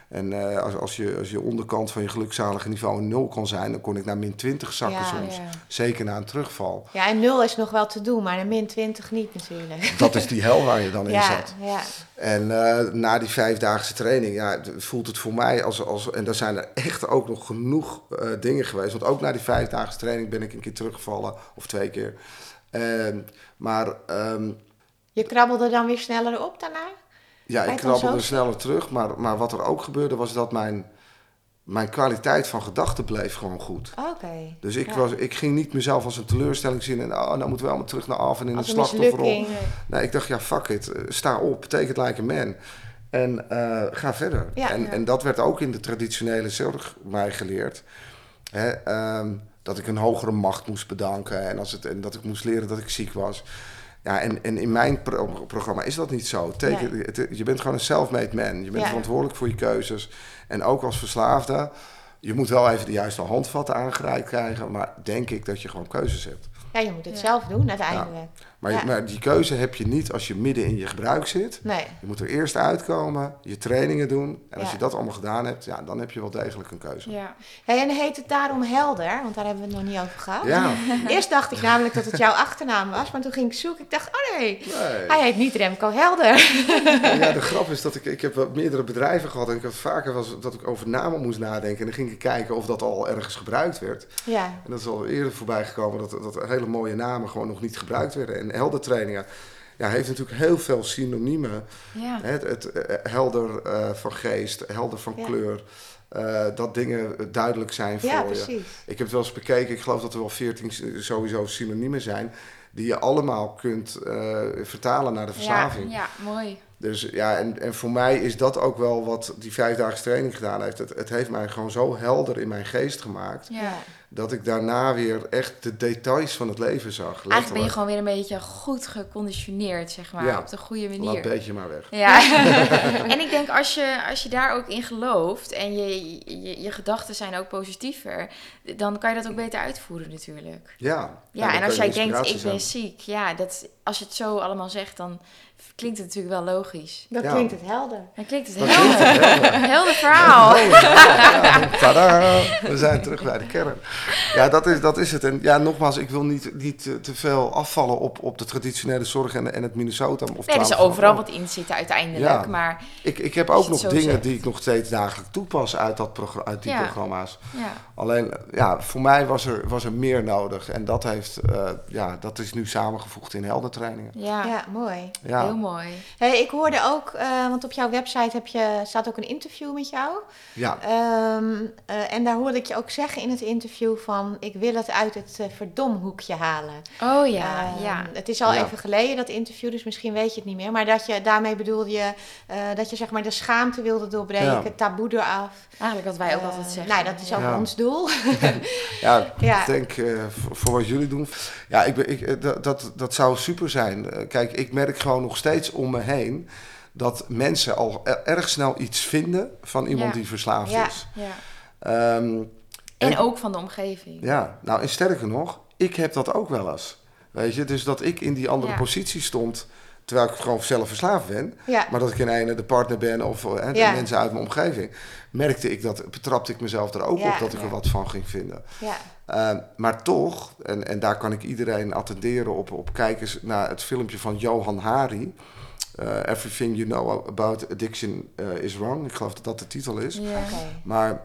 Speaker 1: En eh, als, als, je, als je onderkant van je gelukzalige niveau een nul kan zijn, dan kon ik naar min 20 zakken
Speaker 2: Ja,
Speaker 1: soms.
Speaker 4: ja.
Speaker 1: Zeker na een terugval.
Speaker 2: Ja, en nul is nog wel te doen, maar een min 20 niet natuurlijk.
Speaker 1: Dat is die hel waar je dan in
Speaker 2: Ja,
Speaker 1: zat.
Speaker 2: ja.
Speaker 1: En eh, na die vijfdaagse training ja, d- voelt het voor mij als, als... En daar zijn er echt ook nog genoeg eh, dingen geweest. Want ook na die vijfdaagse training ben ik een keer teruggevallen. Of twee keer. Ehm, maar ehm,
Speaker 2: Je krabbelde dan weer sneller op daarna?
Speaker 1: ja, ik
Speaker 2: Lijkt dan
Speaker 1: krabbelde
Speaker 2: zo.
Speaker 1: sneller terug. Maar, maar wat er ook gebeurde was dat mijn, mijn kwaliteit van gedachten bleef gewoon goed.
Speaker 2: Oké.
Speaker 1: Dus ik,
Speaker 2: Ja.
Speaker 1: was, ik ging niet mezelf als een teleurstelling zien. En oh, nou moeten we allemaal terug naar af en in
Speaker 2: Als
Speaker 1: de
Speaker 2: een
Speaker 1: slachtofferrol.
Speaker 2: mislukking.
Speaker 1: Nee, Nou, ik dacht, ja, fuck it. Eh, Sta op, take it like a man. En eh, ga verder.
Speaker 2: Ja,
Speaker 1: en,
Speaker 2: ja.
Speaker 1: en dat werd ook in de traditionele zorg mij geleerd. Hè, ehm, dat ik een hogere macht moest bedanken. En, als het, en dat ik moest leren dat ik ziek was. Ja, en, en in mijn pro- programma is dat niet zo. Take
Speaker 2: Nee.
Speaker 1: it- het- je bent gewoon een self-made man. Je bent
Speaker 2: Ja.
Speaker 1: verantwoordelijk voor je keuzes. En ook als verslaafde, je moet wel even de juiste handvatten aangereikt krijgen. Maar denk ik dat je gewoon keuzes hebt.
Speaker 2: eh, Ja, je moet het
Speaker 4: Ja.
Speaker 2: zelf doen uiteindelijk.
Speaker 1: Maar, je-
Speaker 2: Ja.
Speaker 1: maar die keuze heb je niet als je midden in je gebruik zit.
Speaker 2: Nee.
Speaker 1: Je moet er eerst uitkomen, je trainingen doen. En als
Speaker 2: Ja.
Speaker 1: je dat allemaal gedaan hebt, ja, dan heb je wel degelijk een keuze.
Speaker 4: Ja.
Speaker 2: Hey, en heet het daarom helder? Want daar hebben we het nog niet over gehad.
Speaker 1: Ja.
Speaker 2: Eerst dacht ik namelijk dat het jouw achternaam was, maar toen ging ik zoeken. Ik dacht, oh nee,
Speaker 1: Nee.
Speaker 2: hij heet niet Remco Helder.
Speaker 1: ja, de grap is dat ik, ik heb wel meerdere bedrijven gehad. En ik had vaker was dat ik over namen moest nadenken. En dan ging ik kijken of dat al ergens gebruikt werd.
Speaker 2: Ja,
Speaker 1: En dat is al eerder voorbij gekomen dat, dat hele mooie namen gewoon nog niet gebruikt werden. En heldertrainingen ja, heeft natuurlijk heel veel synoniemen.
Speaker 4: Ja.
Speaker 1: Hè, Het, het, eh, helder eh, van geest, helder van
Speaker 2: Ja.
Speaker 1: kleur. eh, dat dingen duidelijk zijn voor
Speaker 2: ja
Speaker 1: je.
Speaker 2: precies.
Speaker 1: Ik heb het wel eens bekeken. Ik geloof dat er wel veertien sowieso synoniemen zijn. Die je allemaal kunt eh, vertalen naar de verslaving.
Speaker 4: Ja, ja, mooi.
Speaker 1: Dus ja, en, en voor mij is dat ook wel wat die vijfdaagse training gedaan heeft. Het, het heeft mij gewoon zo helder in mijn geest gemaakt.
Speaker 4: Ja.
Speaker 2: Ja.
Speaker 1: Dat ik daarna weer echt de details van het leven zag.
Speaker 4: Eigenlijk ben je
Speaker 1: Letterlijk.
Speaker 4: gewoon weer een beetje goed geconditioneerd, zeg maar.
Speaker 1: Ja.
Speaker 4: Op de goede
Speaker 1: Laat
Speaker 4: manier.
Speaker 1: een beetje maar weg.
Speaker 4: Ja, en ik denk als je, als je daar ook in gelooft en je, je, je gedachten zijn ook positiever, dan kan je dat ook beter uitvoeren natuurlijk.
Speaker 1: Ja,
Speaker 4: Ja,
Speaker 1: dan
Speaker 4: en als
Speaker 1: kun
Speaker 4: jij
Speaker 1: je
Speaker 4: denkt,
Speaker 1: inspiratie
Speaker 4: ik
Speaker 1: zijn.
Speaker 4: ben ziek, ja, dat, als je het zo allemaal zegt, dan klinkt het natuurlijk wel logisch.
Speaker 2: Dan
Speaker 1: Ja.
Speaker 2: klinkt het helder.
Speaker 4: Dan klinkt het
Speaker 1: Dan
Speaker 4: helder, helder verhaal.
Speaker 1: Tadaa, Oh. we zijn terug bij de kern. Ja, dat is, dat is het. En ja, nogmaals, ik wil niet, niet te- te veel afvallen op, op de traditionele zorg en, en het Minnesota. Of
Speaker 4: Nee, er
Speaker 1: 12
Speaker 4: is
Speaker 1: van
Speaker 4: overal
Speaker 1: de-
Speaker 4: wat in zitten uiteindelijk,
Speaker 1: Ja.
Speaker 4: maar
Speaker 1: Ik, ik heb
Speaker 4: als
Speaker 1: ook
Speaker 4: je
Speaker 1: nog
Speaker 4: het zo
Speaker 1: dingen
Speaker 4: zegt.
Speaker 1: die ik nog steeds dagelijks toepas uit, dat progr- uit die
Speaker 4: Ja.
Speaker 1: programma's.
Speaker 4: ja.
Speaker 1: Alleen, ja, voor mij was er, was er meer nodig. En dat, heeft, eh, ja, dat is nu samengevoegd in helder trainingen.
Speaker 4: Ja,
Speaker 2: Ja, mooi.
Speaker 1: Ja.
Speaker 4: heel mooi.
Speaker 2: Hey, ik hoorde ook, eh, want op jouw website heb je, staat ook een interview met jou.
Speaker 1: ja.
Speaker 2: Ehm, eh, en daar hoorde ik je ook zeggen in het interview van... ik wil het uit het eh, verdomhoekje halen.
Speaker 4: Oh ja,
Speaker 2: Ehm,
Speaker 4: ja.
Speaker 2: Het is al
Speaker 1: Ja.
Speaker 2: even geleden, dat interview, dus misschien weet je het niet meer. Maar dat je, daarmee bedoelde je eh, dat je zeg maar, de schaamte wilde doorbreken,
Speaker 1: Ja.
Speaker 2: het taboe eraf.
Speaker 4: Eigenlijk wat wij ook
Speaker 2: Eh,
Speaker 4: altijd zeggen.
Speaker 2: Nou, dat is ook
Speaker 1: Ja.
Speaker 2: ons doel.
Speaker 1: Ja,
Speaker 2: Ja.
Speaker 1: ik denk eh, voor, voor wat jullie doen. Ja, ik, ben- ik, eh, dat- dat, dat zou super zijn. Eh, Kijk, ik merk gewoon nog steeds om me heen dat mensen al er- erg snel iets vinden van iemand
Speaker 4: Ja.
Speaker 1: die verslaafd
Speaker 2: Ja.
Speaker 1: is.
Speaker 4: Ja.
Speaker 1: Ehm,
Speaker 4: En
Speaker 1: Ik-
Speaker 4: ook van de omgeving.
Speaker 1: ja, nou en sterker nog, ik heb dat ook wel eens. Weet je, dus dat ik in die andere
Speaker 4: Ja.
Speaker 1: positie stond, terwijl ik gewoon zelf verslaafd ben.
Speaker 2: ja.
Speaker 1: Maar dat ik in ene de partner ben of eh, de
Speaker 2: Ja.
Speaker 1: mensen uit mijn omgeving. Merkte ik dat, betrapte ik mezelf er ook
Speaker 2: Ja,
Speaker 1: op dat ik
Speaker 4: ja.
Speaker 1: er wat van ging vinden.
Speaker 2: ja.
Speaker 1: Uh, maar toch, en, en daar kan ik iedereen attenderen op, op kijkers naar het filmpje van Johan Hari. eh, Everything You Know About Addiction eh, Is Wrong. Ik geloof dat dat de titel is.
Speaker 4: Ja.
Speaker 2: Oké.
Speaker 1: Maar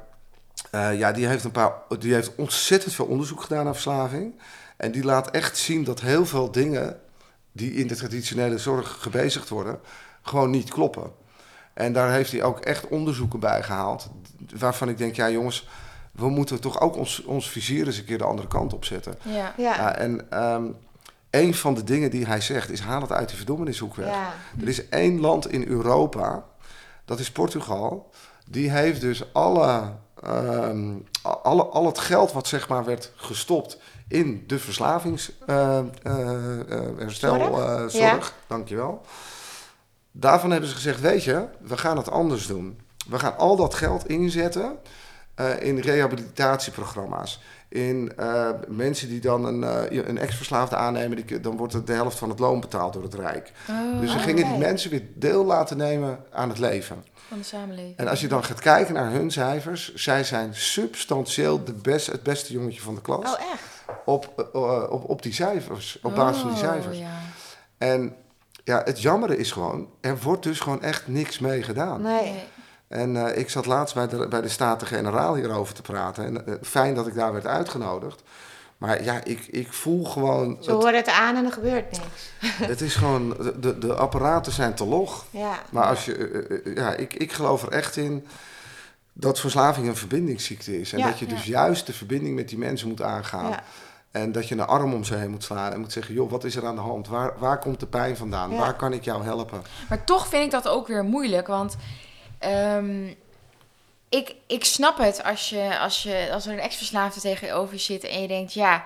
Speaker 1: eh, ja, die heeft, een paar, die heeft ontzettend veel onderzoek gedaan naar verslaving. En die laat echt zien dat heel veel dingen die in de traditionele zorg gebezigd worden, gewoon niet kloppen. En daar heeft hij ook echt onderzoeken bij gehaald. Waarvan ik denk, ja jongens, we moeten toch ook ons, ons vizier eens een keer de andere kant op zetten.
Speaker 4: Ja.
Speaker 2: Ja.
Speaker 1: Ja, en ehm, een van de dingen die hij zegt is, haal het uit de verdoemenishoek weg.
Speaker 2: Ja.
Speaker 1: Er is één land in Europa, dat is Portugal. Die heeft dus alle, ehm, a- alle, al het geld wat zeg maar werd gestopt in de eh,
Speaker 2: Zorg?
Speaker 1: verslavingsherstelzorg, eh, dankjewel. Daarvan hebben ze gezegd, weet je, we gaan het anders doen. We gaan al dat geld inzetten eh, in rehabilitatieprogramma's. In eh, mensen die dan een, eh, een ex-verslaafde aannemen, die, dan wordt de helft van het loon betaald door het Rijk.
Speaker 4: Oh,
Speaker 1: Dus ze
Speaker 2: Oh,
Speaker 1: gingen die
Speaker 2: oké.
Speaker 1: mensen weer deel laten nemen aan het leven.
Speaker 4: van de samenleving.
Speaker 1: En als je dan gaat kijken naar hun cijfers, zij zijn substantieel de best, het beste jongetje van de klas
Speaker 2: Oh, echt?
Speaker 1: op, eh, op, op die cijfers, op basis van die
Speaker 4: e- Oh,
Speaker 1: cijfers.
Speaker 4: Ja.
Speaker 1: En ja, het jammere is gewoon, er wordt dus gewoon echt niks mee gedaan.
Speaker 2: Nee.
Speaker 1: En eh, ik zat laatst bij de, bij de Staten-Generaal hierover te praten. En eh, fijn dat ik daar werd uitgenodigd. Maar ja, ik, ik voel gewoon,
Speaker 2: Ze
Speaker 1: het,
Speaker 2: horen het aan en er gebeurt niks.
Speaker 1: het is gewoon, de, de apparaten zijn te log.
Speaker 2: Ja.
Speaker 1: Maar als je, eh, eh, ja, ik, ik geloof er echt in dat verslaving een verbindingsziekte is. En
Speaker 2: Ja,
Speaker 1: dat je dus juist de verbinding met die mensen moet aangaan.
Speaker 2: Ja.
Speaker 1: En dat je een arm om ze heen moet slaan en moet zeggen: joh, wat is er aan de hand? Waar, waar komt de pijn vandaan?
Speaker 2: Ja.
Speaker 1: Waar kan ik jou helpen?
Speaker 4: Maar toch vind ik dat ook weer moeilijk, want ehm, ik, ik snap het als, je, als, je, als er een ex-verslaafde tegenover je zit en je denkt, ja,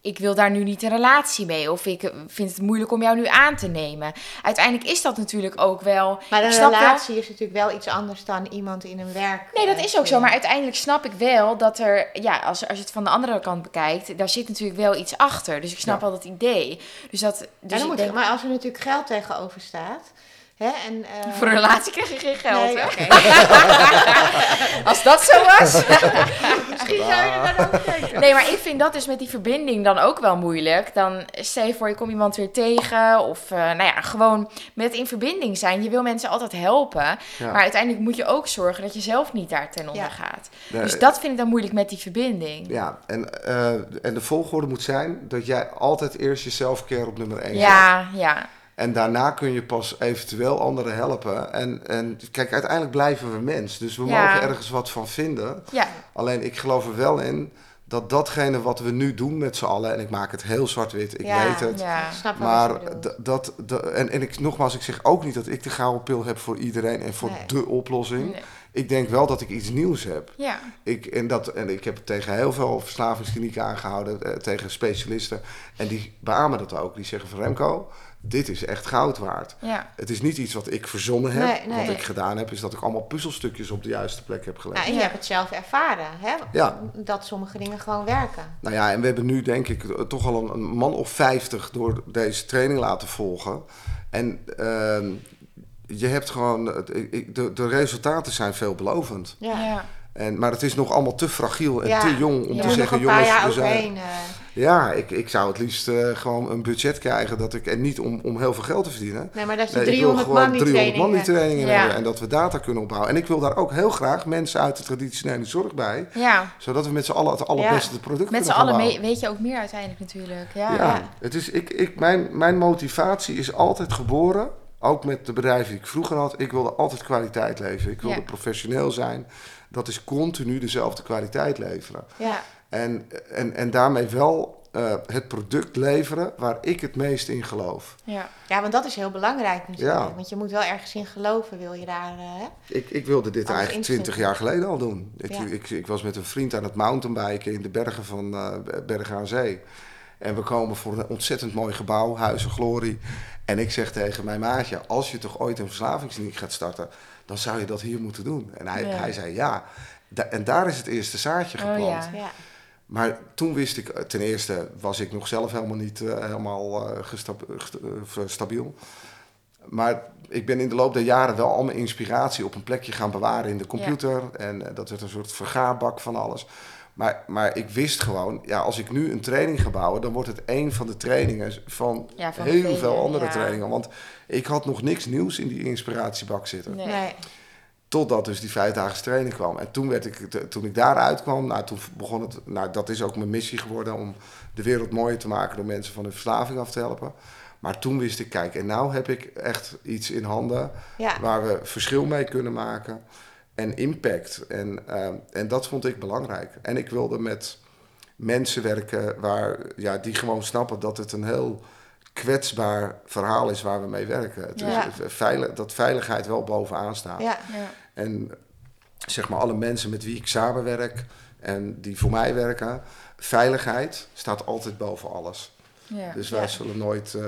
Speaker 4: ik wil daar nu niet een relatie mee of ik eh, vind het moeilijk om jou nu aan te nemen. Uiteindelijk is dat natuurlijk ook wel.
Speaker 2: Maar een
Speaker 4: ik snap wel-
Speaker 2: relatie is natuurlijk wel iets anders dan iemand in een werk.
Speaker 4: Nee, dat
Speaker 2: eh,
Speaker 4: is ook zo. Maar
Speaker 2: ding.
Speaker 4: uiteindelijk snap ik wel dat er, ja, als, als je het van de andere kant bekijkt, daar zit natuurlijk wel iets achter. Dus ik snap
Speaker 1: Ja.
Speaker 4: al dat idee. Dus dat. Dus
Speaker 2: Ja, dan
Speaker 4: ik
Speaker 2: moet-
Speaker 4: denk,
Speaker 2: Maar als er natuurlijk geld tegenover staat. Hè, en, eh,
Speaker 4: Voor een relatie krijg je geen geld.
Speaker 2: Nee,
Speaker 4: hè? Als dat zo was.
Speaker 2: Misschien zou je er dan ook kijken.
Speaker 4: Nee, maar ik vind dat dus met die verbinding dan ook wel moeilijk. Dan stel je voor, je komt iemand weer tegen. Of eh, nou ja, gewoon met in verbinding zijn. Je wil mensen altijd helpen.
Speaker 1: Ja.
Speaker 4: Maar uiteindelijk moet je ook zorgen dat je zelf niet daar ten onder
Speaker 2: Ja.
Speaker 4: gaat.
Speaker 1: Nee.
Speaker 4: Dus dat vind ik dan moeilijk met die verbinding.
Speaker 1: Ja, en, eh, en de volgorde moet zijn dat jij altijd eerst jezelf keer op nummer 1
Speaker 4: Ja, ja.
Speaker 1: En daarna kun je pas eventueel anderen helpen. En, en kijk, uiteindelijk blijven we mens. Dus we
Speaker 4: Ja.
Speaker 1: mogen ergens wat van vinden.
Speaker 4: Ja,
Speaker 1: Alleen ik geloof er wel in dat datgene wat we nu doen met z'n allen, en ik maak het heel zwart-wit, ik
Speaker 2: Ja,
Speaker 1: weet het.
Speaker 4: ja.
Speaker 2: Ik snap wel wat je
Speaker 1: Maar
Speaker 2: bedoelt.
Speaker 1: d- dat, d- en, en ik, nogmaals, ik zeg ook niet dat ik de gouden pil heb voor iedereen en voor
Speaker 2: Nee.
Speaker 1: de oplossing.
Speaker 4: Nee.
Speaker 1: Ik denk wel dat ik iets nieuws heb.
Speaker 4: ja.
Speaker 1: Ik, en, dat, en ik heb tegen heel veel verslavingsklinieken aangehouden, eh, tegen specialisten. En die beamen dat ook. Die zeggen van Remco, dit is echt goud waard.
Speaker 4: ja.
Speaker 1: Het is niet iets wat ik verzonnen heb.
Speaker 2: Nee, nee.
Speaker 1: Wat ik gedaan heb, is dat ik allemaal puzzelstukjes op de juiste plek heb gelegd.
Speaker 2: Nou, en je
Speaker 4: Ja.
Speaker 2: hebt het zelf ervaren, hè?
Speaker 1: Ja.
Speaker 2: Dat sommige dingen gewoon werken.
Speaker 1: Nou ja, en we hebben nu denk ik eh, toch al een, een man of 50 door deze training laten volgen. En ehm, je hebt gewoon, het- ik- ik- de, de resultaten zijn veelbelovend.
Speaker 2: Ja.
Speaker 4: ja.
Speaker 1: En, maar het is nog allemaal te fragiel en
Speaker 2: Ja,
Speaker 1: te jong om
Speaker 4: je
Speaker 1: te
Speaker 2: moet nog
Speaker 1: zeggen,
Speaker 2: een paar
Speaker 1: jongens,
Speaker 2: jaar
Speaker 1: we zijn...
Speaker 2: overheen. eh.
Speaker 1: Ja, ik, ik zou het liefst eh, gewoon een budget krijgen dat ik, en niet om, om heel veel geld te verdienen.
Speaker 2: Nee, maar dat je
Speaker 1: Nee, ik wil
Speaker 2: 300
Speaker 1: gewoon
Speaker 2: man die
Speaker 1: 300 man die
Speaker 2: trainingen.
Speaker 1: trainingen
Speaker 4: Ja.
Speaker 1: hebben en dat we data kunnen opbouwen. En ik wil daar ook heel graag mensen uit de traditionele zorg bij,
Speaker 4: Ja,
Speaker 1: zodat we met z'n allen het allerbeste product
Speaker 4: met
Speaker 1: kunnen
Speaker 4: z'n
Speaker 1: gaan
Speaker 4: allen
Speaker 1: bouwen.
Speaker 4: mee- weet je ook meer uiteindelijk natuurlijk. Ja,
Speaker 1: Ja,
Speaker 2: ja.
Speaker 1: Het is, ik, ik, mijn, mijn motivatie is altijd geboren, ook met de bedrijven die ik vroeger had. Ik wilde altijd kwaliteit leveren. Ik wilde
Speaker 4: Ja.
Speaker 1: professioneel zijn. Dat is continu dezelfde kwaliteit leveren.
Speaker 2: Ja,
Speaker 1: En, en, en daarmee wel eh, het product leveren waar ik het meest in geloof.
Speaker 4: ja.
Speaker 2: ja, want dat is heel belangrijk natuurlijk.
Speaker 1: Ja.
Speaker 2: Want je moet wel ergens in geloven, wil je daar... eh, hè?
Speaker 1: Ik, ik wilde dit
Speaker 2: Alles
Speaker 1: eigenlijk
Speaker 2: instant.
Speaker 1: twintig jaar geleden al doen. Ik,
Speaker 2: Ja.
Speaker 1: ik, ik was met een vriend aan het mountainbiken in de bergen van eh, Bergen aan Zee. En we komen voor een ontzettend mooi gebouw, Huizen Glorie. En ik zeg tegen mijn maatje, als je toch ooit een verslavingskliniek gaat starten... dan zou je dat hier moeten doen. En hij,
Speaker 4: Ja.
Speaker 1: hij zei ja. Da- en daar is het eerste zaadje
Speaker 4: Oh,
Speaker 1: geplant.
Speaker 4: ja.
Speaker 2: ja.
Speaker 1: Maar toen wist ik, eh, ten eerste was ik nog zelf helemaal niet eh, helemaal eh, gestab- gest- eh, stabiel. Maar ik ben in de loop der jaren wel al mijn inspiratie op een plekje gaan bewaren in de computer. En eh, dat werd een soort vergaarbak van alles. Maar, maar ik wist gewoon, ja, als ik nu een training ga bouwen, dan wordt het één van de trainingen van,
Speaker 4: Ja, van
Speaker 1: heel
Speaker 4: vele,
Speaker 1: veel andere
Speaker 4: ja.
Speaker 1: trainingen. Want ik had nog niks nieuws in die inspiratiebak zitten.
Speaker 4: Nee.
Speaker 2: Nee.
Speaker 1: Totdat dus die vijfdaagse training kwam. En toen, werd ik, t- toen ik daaruit kwam, nou, toen begon het. Nou, dat is ook mijn missie geworden om de wereld mooier te maken door mensen van hun verslaving af te helpen. Maar toen wist ik, kijk, en nou heb ik echt iets in handen
Speaker 2: Ja.
Speaker 1: waar we verschil mee kunnen maken en impact. En, ehm, en dat vond ik belangrijk. En ik wilde met mensen werken waar, ja, die gewoon snappen dat het een heel kwetsbaar verhaal is waar we mee werken. Het
Speaker 2: Ja.
Speaker 1: is, eh, veile- dat veiligheid wel bovenaan staat.
Speaker 2: Ja.
Speaker 4: Ja.
Speaker 1: En zeg maar alle mensen met wie ik samenwerk en die voor mij werken, veiligheid staat altijd boven alles.
Speaker 4: Ja.
Speaker 1: Dus wij
Speaker 2: Ja.
Speaker 1: zullen nooit eh,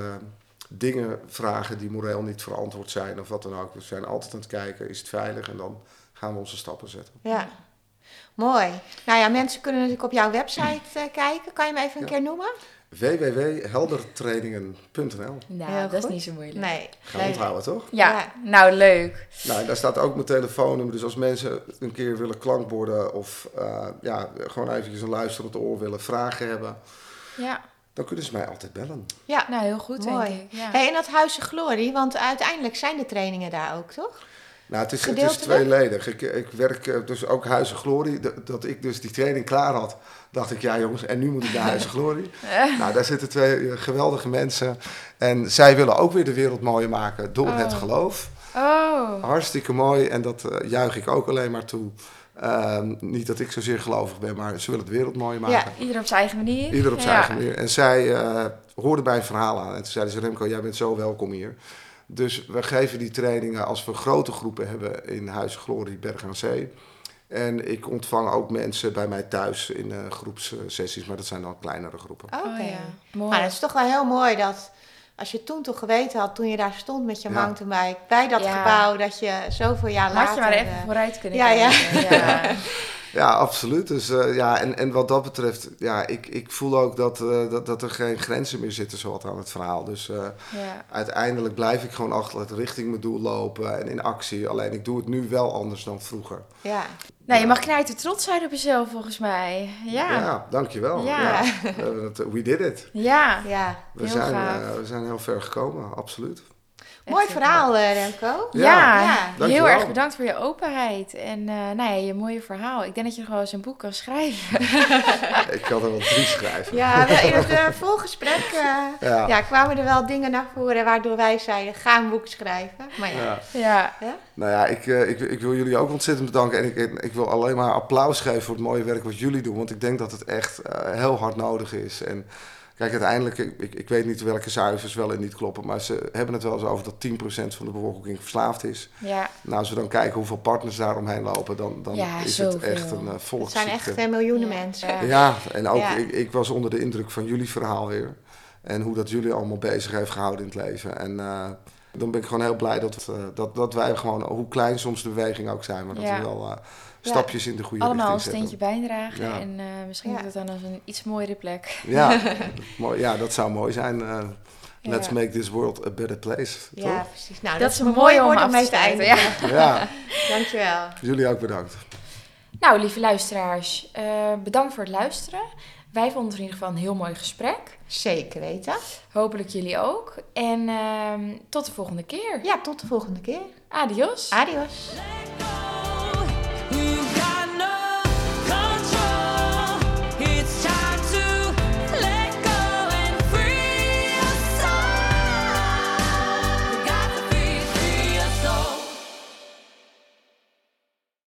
Speaker 1: dingen vragen die moreel niet verantwoord zijn of wat dan ook. We zijn altijd aan het kijken, is het veilig? En dan gaan we onze stappen zetten.
Speaker 2: Ja. Mooi. Nou ja, mensen kunnen natuurlijk op jouw website eh, kijken. Kan je hem even een
Speaker 1: Ja.
Speaker 2: keer noemen?
Speaker 1: www.heldertrainingen.nl
Speaker 4: Nou,
Speaker 2: Heel goed.
Speaker 4: dat is niet zo moeilijk.
Speaker 2: Nee.
Speaker 1: Gaan we onthouden, toch?
Speaker 4: Ja,
Speaker 2: Ja.
Speaker 4: nou leuk.
Speaker 1: Nou, en daar staat ook mijn telefoonnummer. Dus als mensen een keer willen klankborden of eh, ja, gewoon eventjes een luisterend oor willen, vragen hebben,
Speaker 4: Ja,
Speaker 1: dan kunnen ze mij altijd bellen.
Speaker 2: Ja,
Speaker 4: nou heel goed
Speaker 2: mooi.
Speaker 4: denk ik. Ja.
Speaker 2: Hey, en dat Huizen Glorie, want uiteindelijk zijn de trainingen daar ook, toch?
Speaker 1: Nou, het is, het is
Speaker 2: Gedeeltelijk?
Speaker 1: tweeledig. Ik, ik werk eh, dus ook Huizen Glorie. Dat, dat ik dus die training klaar had, dacht ik, ja jongens, en nu moet ik naar Huizen Glorie. nou, daar zitten twee eh, geweldige mensen. En zij willen ook weer de wereld mooier maken door
Speaker 4: Oh.
Speaker 1: het geloof.
Speaker 4: Oh,
Speaker 1: Hartstikke mooi en dat eh, juich ik ook alleen maar toe. Ehm, niet dat ik zozeer gelovig ben, maar ze willen de wereld mooier maken.
Speaker 4: ieder op zijn eigen manier.
Speaker 1: Ieder op zijn
Speaker 4: Ja.
Speaker 1: eigen manier. En zij eh hoorde bij een verhaal aan. En toen zeiden ze, Remco, jij bent zo welkom hier. Dus we geven die trainingen als we grote groepen hebben in Huis Glorie Berg aan Zee. En ik ontvang ook mensen bij mij thuis in eh, groepssessies, maar dat zijn dan kleinere groepen.
Speaker 2: Oké.
Speaker 4: Oh ja,
Speaker 2: Maar
Speaker 4: mooi.
Speaker 2: dat is toch wel heel mooi dat als je toen toch geweten had, toen je daar stond met je
Speaker 1: Ja.
Speaker 2: mountainbike, bij dat
Speaker 4: Ja.
Speaker 2: gebouw, dat je zoveel jaar later...
Speaker 4: Had je maar even
Speaker 2: eh,
Speaker 4: vooruit kunnen
Speaker 2: ja, ja.
Speaker 4: kijken, ja.
Speaker 1: Ja, absoluut. Dus eh, ja, en, en wat dat betreft, ja, ik, ik voel ook dat, eh, dat, dat er geen grenzen meer zitten zowat aan het verhaal. Dus eh,
Speaker 4: ja.
Speaker 1: uiteindelijk blijf ik gewoon achter het richting mijn doel lopen en in actie. Alleen ik doe het nu wel anders dan vroeger.
Speaker 2: Ja.
Speaker 4: Nou, je mag knijten trots zijn op jezelf volgens mij. Ja, ja.
Speaker 1: Ja, dankjewel.
Speaker 4: Ja.
Speaker 1: Ja. We hebben het- eh, we did it.
Speaker 2: ja.
Speaker 1: We
Speaker 4: Heel
Speaker 1: zijn,
Speaker 4: gaaf.
Speaker 1: eh, we zijn heel ver gekomen, absoluut.
Speaker 2: Mooi
Speaker 4: heel
Speaker 2: verhaal, eh, Remco.
Speaker 1: Ja.
Speaker 4: Ja,
Speaker 2: Ja,
Speaker 1: dankjewel.
Speaker 4: heel erg bedankt voor je openheid en eh, nou ja, je mooie verhaal. Ik denk dat je gewoon eens een boek kan schrijven.
Speaker 1: Ik kan er wel drie schrijven.
Speaker 2: Ja, we- in het eh, voorgesprek eh,
Speaker 1: Ja.
Speaker 2: ja. kwamen er wel dingen naar voren waardoor wij zeiden, ga een boek schrijven. Maar ja,
Speaker 1: Ja.
Speaker 4: Ja,
Speaker 2: hè?
Speaker 1: Nou ja, ik, eh, ik, ik wil jullie ook ontzettend bedanken. En ik, en ik wil alleen maar applaus geven voor het mooie werk wat jullie doen. Want ik denk dat het echt eh, heel hard nodig is. En kijk, uiteindelijk, ik, ik- ik weet niet welke cijfers wel en niet kloppen. Maar ze hebben het wel eens over dat 10% van de bevolking verslaafd is.
Speaker 4: ja,
Speaker 1: Nou, als we dan kijken hoeveel partners daar omheen lopen, dan, dan
Speaker 4: Ja,
Speaker 1: is het
Speaker 4: zoveel.
Speaker 1: echt een uh,
Speaker 2: het zijn echt
Speaker 1: volksziekte.
Speaker 2: eh, miljoenen
Speaker 4: Ja.
Speaker 2: mensen.
Speaker 4: Ja.
Speaker 1: Ja, en ook
Speaker 2: Ja.
Speaker 1: Ik, ik was onder de indruk van jullie verhaal weer. En hoe dat jullie allemaal bezig heeft gehouden in het leven. En eh, dan ben ik gewoon heel blij dat, eh, dat, dat wij gewoon, hoe klein soms de beweging ook zijn, maar dat
Speaker 4: Ja.
Speaker 1: we wel eh, stapjes in de goede
Speaker 4: allemaal een
Speaker 1: richting
Speaker 4: steentje
Speaker 1: zetten.
Speaker 4: bijdragen
Speaker 1: Ja.
Speaker 4: en eh, misschien
Speaker 2: Ja.
Speaker 4: wordt het dan als een iets mooiere plek.
Speaker 1: Ja, mooi, ja, dat zou mooi zijn. eh, let's
Speaker 4: Ja.
Speaker 1: make this world a better place.
Speaker 2: Ja, precies. Nou, dat,
Speaker 4: Dat
Speaker 2: is
Speaker 4: is een
Speaker 2: een
Speaker 4: mooie
Speaker 2: mooi
Speaker 4: om
Speaker 2: woord
Speaker 4: af
Speaker 2: om mee
Speaker 4: te
Speaker 2: te
Speaker 4: sluiten.
Speaker 2: eindigen.
Speaker 4: Ja.
Speaker 1: toch? Ja,
Speaker 2: Dankjewel.
Speaker 1: jullie ook bedankt.
Speaker 4: Nou, lieve luisteraars, eh, bedankt voor het luisteren. Wij vonden het in ieder geval een heel mooi gesprek.
Speaker 2: Zeker weten.
Speaker 4: Hopelijk jullie ook. En ehm, tot de volgende keer.
Speaker 2: Ja, tot de volgende keer.
Speaker 4: Adios.
Speaker 2: Adios.
Speaker 3: Let